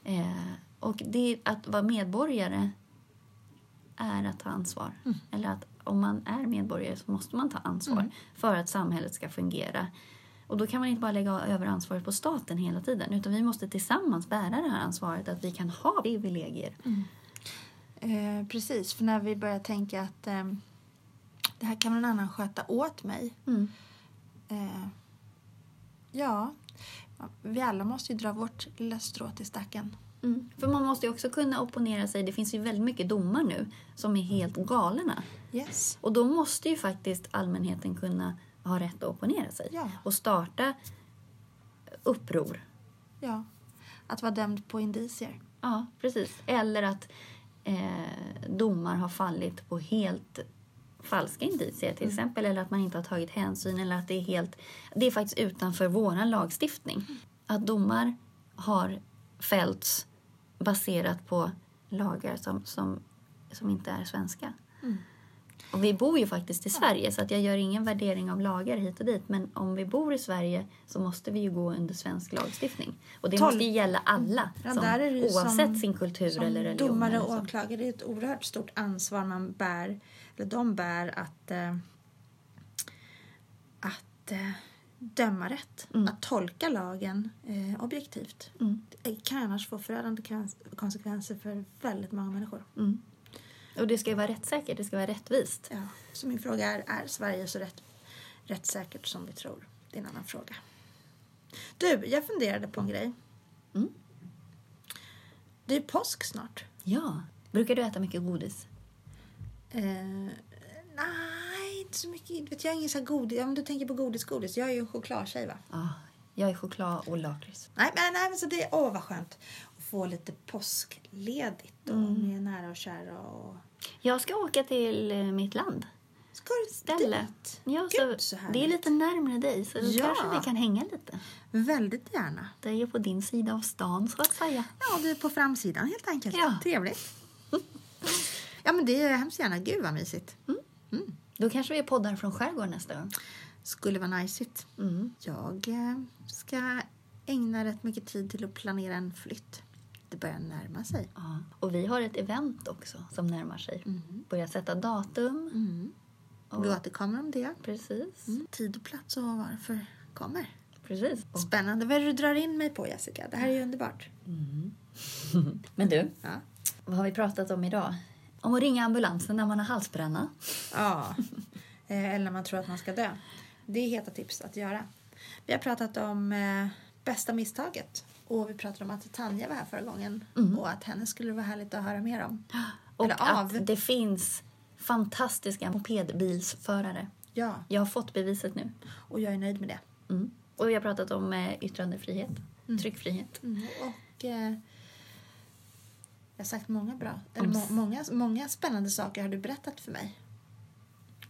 [SPEAKER 1] Eh, och det, att vara medborgare är att ta ansvar. Eller att om man är medborgare så måste man ta ansvar för att samhället ska fungera. Och då kan man inte bara lägga över ansvaret på staten hela tiden utan vi måste tillsammans bära det här ansvaret att vi kan ha privilegier.
[SPEAKER 2] Eh, precis, för när vi börjar tänka att ehm, det här kan någon annan sköta åt mig.
[SPEAKER 1] Mm.
[SPEAKER 2] Eh, ja, vi alla måste ju dra vårt lilla strå till stacken.
[SPEAKER 1] Mm. För man måste ju också kunna opponera sig. Det finns ju väldigt mycket domar nu som är helt galna.
[SPEAKER 2] Yes.
[SPEAKER 1] Och då måste ju faktiskt allmänheten kunna ha rätt att opponera sig
[SPEAKER 2] Ja.
[SPEAKER 1] och starta uppror.
[SPEAKER 2] Ja. Att vara dömd på indicier.
[SPEAKER 1] Ja, precis. Eller att eh, domar har fallit på helt falska indicier till exempel. Eller att man inte har tagit hänsyn. Eller att det är helt... Det är faktiskt utanför vår lagstiftning. Att domar har fällts baserat på lagar som, som, som inte är svenska. Och vi bor ju faktiskt i Sverige så att jag gör ingen värdering av lagar hit och dit. Men om vi bor i Sverige så måste vi ju gå under svensk lagstiftning. Och det
[SPEAKER 2] Tolv-
[SPEAKER 1] måste ju gälla alla
[SPEAKER 2] Ja,
[SPEAKER 1] som,
[SPEAKER 2] där är det ju
[SPEAKER 1] oavsett
[SPEAKER 2] som-
[SPEAKER 1] sin kultur
[SPEAKER 2] Som
[SPEAKER 1] eller liksom. religion.
[SPEAKER 2] domare
[SPEAKER 1] eller
[SPEAKER 2] och
[SPEAKER 1] så.
[SPEAKER 2] åklagare det är ett oerhört stort ansvar man bär, eller de bär att, eh, att eh, döma rätt.
[SPEAKER 1] Mm.
[SPEAKER 2] Att tolka lagen eh, objektivt.
[SPEAKER 1] Mm,
[SPEAKER 2] Det kan annars få förödande kan- konsekvenser för väldigt många människor.
[SPEAKER 1] mm. Och det ska ju vara rättssäkert, det ska vara rättvist.
[SPEAKER 2] Ja. Så min fråga är, är Sverige så rätt, rättssäkert som vi tror? Det är en annan fråga. Du, jag funderade på en grej.
[SPEAKER 1] Mm.
[SPEAKER 2] Det är påsk snart.
[SPEAKER 1] Ja. Brukar du äta mycket godis?
[SPEAKER 2] Eh, nej, inte så mycket. Vet, jag är ingen så här godis. Om du tänker på godis-godis. Jag är ju en chokladtjej va?
[SPEAKER 1] Ja. Jag är choklad och lakrits.
[SPEAKER 2] Nej, men, nej, men så det är... Åh, vad skönt. Att få lite påskledigt och med nära och kära och...
[SPEAKER 1] Jag ska åka till eh, mitt land.
[SPEAKER 2] Ska du
[SPEAKER 1] Ställe.
[SPEAKER 2] dit?
[SPEAKER 1] Ja,
[SPEAKER 2] Gud,
[SPEAKER 1] så
[SPEAKER 2] så
[SPEAKER 1] det är
[SPEAKER 2] härligt.
[SPEAKER 1] lite närmare dig så
[SPEAKER 2] Ja.
[SPEAKER 1] kanske vi kan hänga lite.
[SPEAKER 2] Väldigt gärna.
[SPEAKER 1] Det är ju på din sida av stan så att säga.
[SPEAKER 2] Ja, du är på framsidan helt enkelt.
[SPEAKER 1] Ja.
[SPEAKER 2] Trevligt. <laughs> Ja, men det är hemskt gärna. Gud vad mysigt.
[SPEAKER 1] Mm. Då kanske vi poddar från skärgården nästa gång.
[SPEAKER 2] Skulle vara najsigt.
[SPEAKER 1] Mm.
[SPEAKER 2] Jag eh, ska ägna rätt mycket tid till att planera en flytt. Det börjar närma sig.
[SPEAKER 1] Ja. Och vi har ett event också som närmar sig. Börjar sätta datum.
[SPEAKER 2] Mm.
[SPEAKER 1] Och,
[SPEAKER 2] Vi återkommer om det. Mm.
[SPEAKER 1] Precis.
[SPEAKER 2] Tid och plats och varför kommer.
[SPEAKER 1] Precis. Och,
[SPEAKER 2] Spännande vad du drar in mig på Jessica. Det här är ju underbart.
[SPEAKER 1] men du,
[SPEAKER 2] Ja.
[SPEAKER 1] Vad har vi pratat om idag? Om att ringa ambulansen när man har halsbränna.
[SPEAKER 2] ja. Eh, Eller när man tror att man ska dö. Det är heta tips att göra. Vi har pratat om eh, bästa misstaget. Och vi pratade om att Tanja var här förra gången. Och att henne skulle det vara härligt att höra mer om.
[SPEAKER 1] Mm. <gasps> Och
[SPEAKER 2] Eller av.
[SPEAKER 1] att det finns fantastiska mopedbilsförare.
[SPEAKER 2] Ja,
[SPEAKER 1] Jag har fått beviset nu.
[SPEAKER 2] och jag är nöjd med det.
[SPEAKER 1] Mm. Och vi har pratat om eh, yttrandefrihet, tryckfrihet.
[SPEAKER 2] Mm, Och eh, jag har sagt många bra, eller
[SPEAKER 1] Om
[SPEAKER 2] må,
[SPEAKER 1] s-
[SPEAKER 2] många, många spännande saker har du berättat för mig.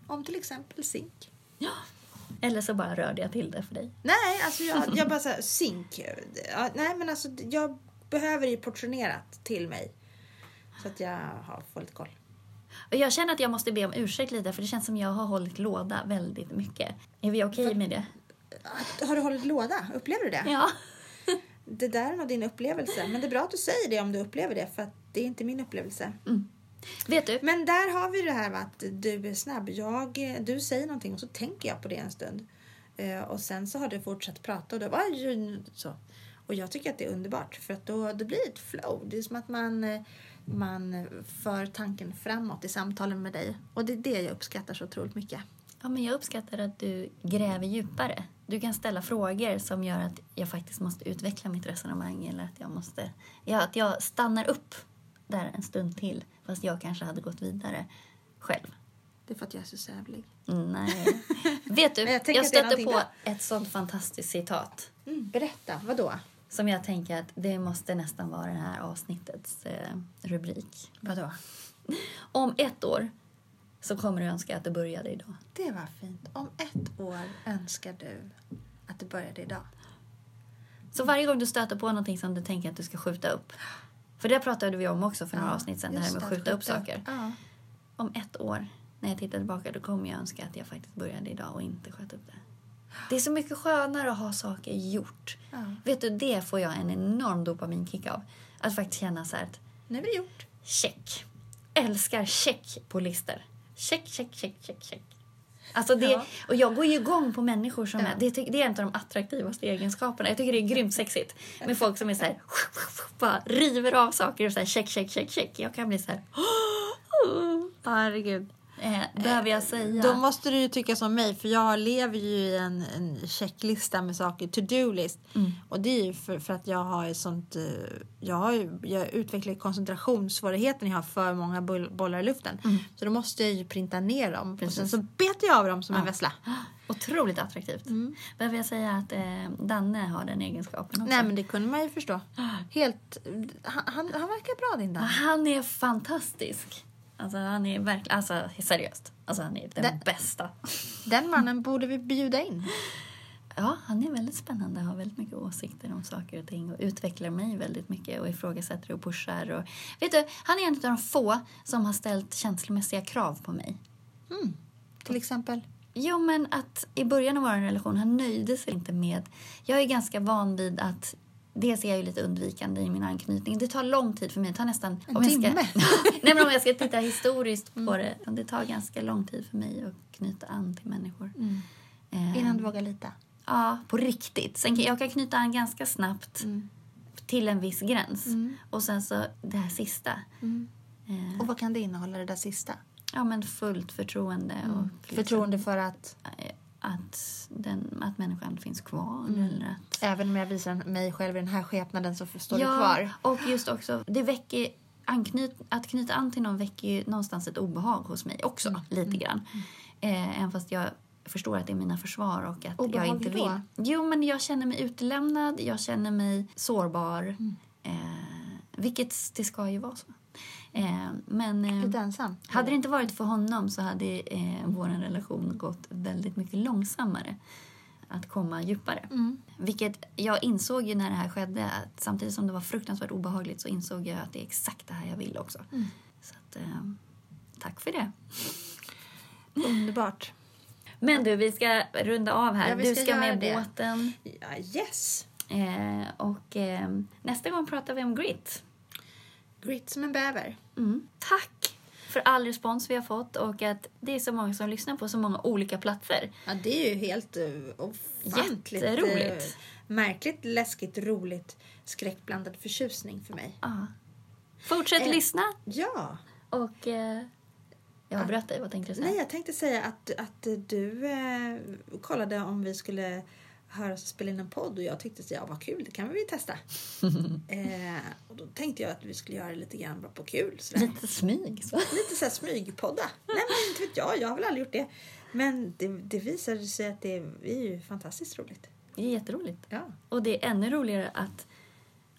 [SPEAKER 2] Om till exempel zink.
[SPEAKER 1] Eller så bara rörde jag till det för dig.
[SPEAKER 2] Nej, alltså jag, jag bara så här, zink. Ja, nej, men alltså jag behöver ju portionerat till mig. Så att jag har, får lite koll.
[SPEAKER 1] Och jag känner att jag måste be om ursäkt lite för det känns som jag har hållit låda väldigt mycket. Är vi okej med det?
[SPEAKER 2] Att- Har du hållit låda? Upplever du det?
[SPEAKER 1] Ja.
[SPEAKER 2] Det där är nog din upplevelse. Men det är bra att du säger det om du upplever det. För att det är inte min upplevelse.
[SPEAKER 1] Vet du?
[SPEAKER 2] Men där har vi det här med att du är snabb. Jag, du säger någonting och så tänker jag på det en stund. Eh, och sen så har du fortsatt prata och då var ju så. Och jag tycker att det är underbart för att då, då blir det ett flow. Det är som att man, eh, man för tanken framåt i samtalen med dig. Och det är det jag uppskattar så otroligt mycket.
[SPEAKER 1] Ja, men jag uppskattar att du gräver djupare. Du kan ställa frågor som gör att jag faktiskt måste utveckla mitt resonemang eller att jag måste... Ja, att jag stannar upp där en stund till fast jag kanske hade gått vidare själv.
[SPEAKER 2] Det är för att jag är så sävlig. <laughs>
[SPEAKER 1] Nej. Vet du,
[SPEAKER 2] Men jag
[SPEAKER 1] jag,
[SPEAKER 2] tänker att det är
[SPEAKER 1] stötte på
[SPEAKER 2] någonting
[SPEAKER 1] ett sånt fantastiskt citat
[SPEAKER 2] Mm. Berätta, vad då?
[SPEAKER 1] som jag tänker att det måste nästan vara det här avsnittets eh, rubrik.
[SPEAKER 2] Vadå?
[SPEAKER 1] <laughs> Om ett år så kommer du önska att du började idag.
[SPEAKER 2] Det var fint. Om ett år önskar du att du började idag.
[SPEAKER 1] Så varje gång du stöter på någonting som du tänker att du ska skjuta upp. För det pratade vi om också för några
[SPEAKER 2] Ja,
[SPEAKER 1] avsnitt sedan, det här
[SPEAKER 2] just
[SPEAKER 1] med att skjuta, upp saker.
[SPEAKER 2] Ja.
[SPEAKER 1] Om ett år, när jag tittar tillbaka, då kommer jag önska att jag faktiskt började idag och inte sköt upp det. Det är så mycket skönare att ha saker gjort.
[SPEAKER 2] Ja.
[SPEAKER 1] Vet du, det får jag en enorm dopaminkick av. Att faktiskt känna så här att
[SPEAKER 2] Nu är det gjort.
[SPEAKER 1] check. Älskar check på listor. Check, check, check, check, check. Alltså det,
[SPEAKER 2] Ja.
[SPEAKER 1] Och jag går ju igång på människor som
[SPEAKER 2] Ja.
[SPEAKER 1] är... Det, ty- det är en av de attraktivaste egenskaperna. Jag tycker det är grymt sexigt med folk som är så här... <laughs> Bara river av saker och så här check, check, check, check. Jag kan bli så här...
[SPEAKER 2] Herregud.
[SPEAKER 1] Eh, behöver jag säga?
[SPEAKER 2] Då måste du ju tycka som mig, för jag lever ju i en, en checklista med saker, to-do-list.
[SPEAKER 1] Mm.
[SPEAKER 2] Och det är ju för, för att jag har ett sånt... eh, Jag, har ju, jag utvecklar ju koncentrationssvårigheten, jag har för många boll, bollar i luften. Så då måste jag ju printa ner dem
[SPEAKER 1] Mm. Precis.
[SPEAKER 2] och sen så betar jag av dem som en vessla.
[SPEAKER 1] Otroligt attraktivt.
[SPEAKER 2] Mm.
[SPEAKER 1] Behöver jag säga att eh, Danne har den egenskapen också?
[SPEAKER 2] Nej men det kunde man
[SPEAKER 1] <gasps>
[SPEAKER 2] ju förstå. Helt, han, han, han verkar bra din
[SPEAKER 1] Ja, <laughs>
[SPEAKER 2] dag.
[SPEAKER 1] Han är fantastisk. Alltså han är verkligen, alltså seriöst. Alltså han är den
[SPEAKER 2] Det-
[SPEAKER 1] bästa.
[SPEAKER 2] Den mannen borde vi bjuda in.
[SPEAKER 1] Ja, han är väldigt spännande, har väldigt mycket åsikter om saker och ting och utvecklar mig väldigt mycket och ifrågasätter och pushar. Och, vet du, han är en av de få som har ställt känslomässiga krav på mig.
[SPEAKER 2] Till exempel.
[SPEAKER 1] Jo, men att i början av vår relation, han nöjde sig inte med... Jag är ganska van vid att... Dels är jag ju lite undvikande i min anknytning. Det tar lång tid för mig. Det tar nästan...
[SPEAKER 2] En
[SPEAKER 1] Jag
[SPEAKER 2] timme. Mm.
[SPEAKER 1] ska, <laughs> nej, men om jag ska titta historiskt på det. Det tar ganska lång tid för mig att knyta an till människor. Eh,
[SPEAKER 2] Innan du vågar lita.
[SPEAKER 1] Ja, på riktigt. Sen kan, jag kan knyta an ganska snabbt till en viss gräns. Och sen så det här sista. Eh,
[SPEAKER 2] Och vad kan det innehålla det där sista?
[SPEAKER 1] ja, men fullt förtroende. Och liksom-
[SPEAKER 2] Mm. Förtroende för att
[SPEAKER 1] eh, att, den, att människan finns kvar. Eller att,
[SPEAKER 2] även om jag visar mig själv i den här skepnaden så står du kvar.
[SPEAKER 1] Och just också, det väcker, anknyt, att knyta an till någon väcker ju någonstans ett obehag hos mig också,
[SPEAKER 2] Mm.
[SPEAKER 1] lite grann. Eh, även fast jag förstår att det är mina försvar och att
[SPEAKER 2] Obehag
[SPEAKER 1] jag inte
[SPEAKER 2] då?
[SPEAKER 1] vill. Jo, men jag känner mig utelämnad, jag känner mig sårbar.
[SPEAKER 2] Mm.
[SPEAKER 1] Eh, vilket det ska ju vara så. Eh, men... eh,
[SPEAKER 2] Lite ensam.
[SPEAKER 1] hade det inte varit för honom så hade eh, vår relation gått väldigt mycket långsammare att komma djupare.
[SPEAKER 2] Mm.
[SPEAKER 1] Vilket jag insåg ju när det här skedde att samtidigt som det var fruktansvärt obehagligt så insåg jag att det är exakt det här jag vill också. Så att, eh, tack för det. Mm.
[SPEAKER 2] Underbart.
[SPEAKER 1] Men du, vi ska runda av här.
[SPEAKER 2] Ja, vi
[SPEAKER 1] du
[SPEAKER 2] ska
[SPEAKER 1] ska
[SPEAKER 2] göra
[SPEAKER 1] med
[SPEAKER 2] det.
[SPEAKER 1] båten.
[SPEAKER 2] Ja, yes!
[SPEAKER 1] Eh, och eh, nästa gång pratar vi om grit.
[SPEAKER 2] Grit som en bäver.
[SPEAKER 1] Mm. Tack för all respons vi har fått och att det är så många som lyssnar på så många olika platser.
[SPEAKER 2] Ja, det är ju helt uh, ofantligt
[SPEAKER 1] Jätteroligt.
[SPEAKER 2] eh, märkligt, läskigt, roligt, skräckblandad förtjusning för mig.
[SPEAKER 1] Ja. Fortsätt
[SPEAKER 2] Eh,
[SPEAKER 1] lyssna.
[SPEAKER 2] Ja!
[SPEAKER 1] Och... Eh, jag avbröt dig. Vad tänkte du säga?
[SPEAKER 2] Nej, jag tänkte säga att, att du eh, kollade om vi skulle höras och spela in en podd och jag tyckte att ja, vad kul, det kan vi
[SPEAKER 1] <laughs>
[SPEAKER 2] testa. eh, och då tänkte jag att vi skulle göra det lite grann bara på kul. Sådär.
[SPEAKER 1] Lite smyg. Så.
[SPEAKER 2] Lite så här smygpodda. Nej, men inte vet jag, jag har väl aldrig gjort det. Men det, det visade sig att det är ju fantastiskt roligt.
[SPEAKER 1] Det är jätteroligt.
[SPEAKER 2] Ja.
[SPEAKER 1] Och det är ännu roligare att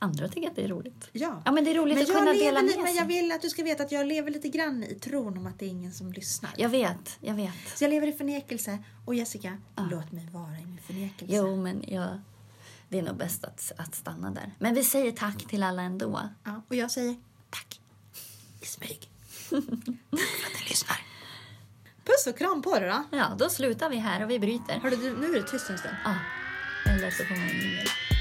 [SPEAKER 1] andra tycker att det är roligt.
[SPEAKER 2] Ja.
[SPEAKER 1] Ja, men det är roligt
[SPEAKER 2] Men
[SPEAKER 1] att kunna
[SPEAKER 2] jag,
[SPEAKER 1] dela
[SPEAKER 2] lever,
[SPEAKER 1] med
[SPEAKER 2] li-
[SPEAKER 1] sig.
[SPEAKER 2] men jag vill att du ska veta att jag lever lite grann i tron om att det är ingen som lyssnar.
[SPEAKER 1] jag vet, jag vet.
[SPEAKER 2] Så jag lever i förnekelse. Och Jessica, låt mig vara i min förnekelse.
[SPEAKER 1] Jo, men jag... Det är nog bäst att, att stanna där. Men vi säger tack till alla ändå.
[SPEAKER 2] Ja, och jag säger tack. I smyg.
[SPEAKER 1] <laughs>
[SPEAKER 2] tack för att du lyssnar. Puss och kram på dig då.
[SPEAKER 1] Ja, då slutar vi här och vi bryter.
[SPEAKER 2] Hörde du, nu är det tyst en stund.
[SPEAKER 1] Ja. Eller så får man ingen hjälp.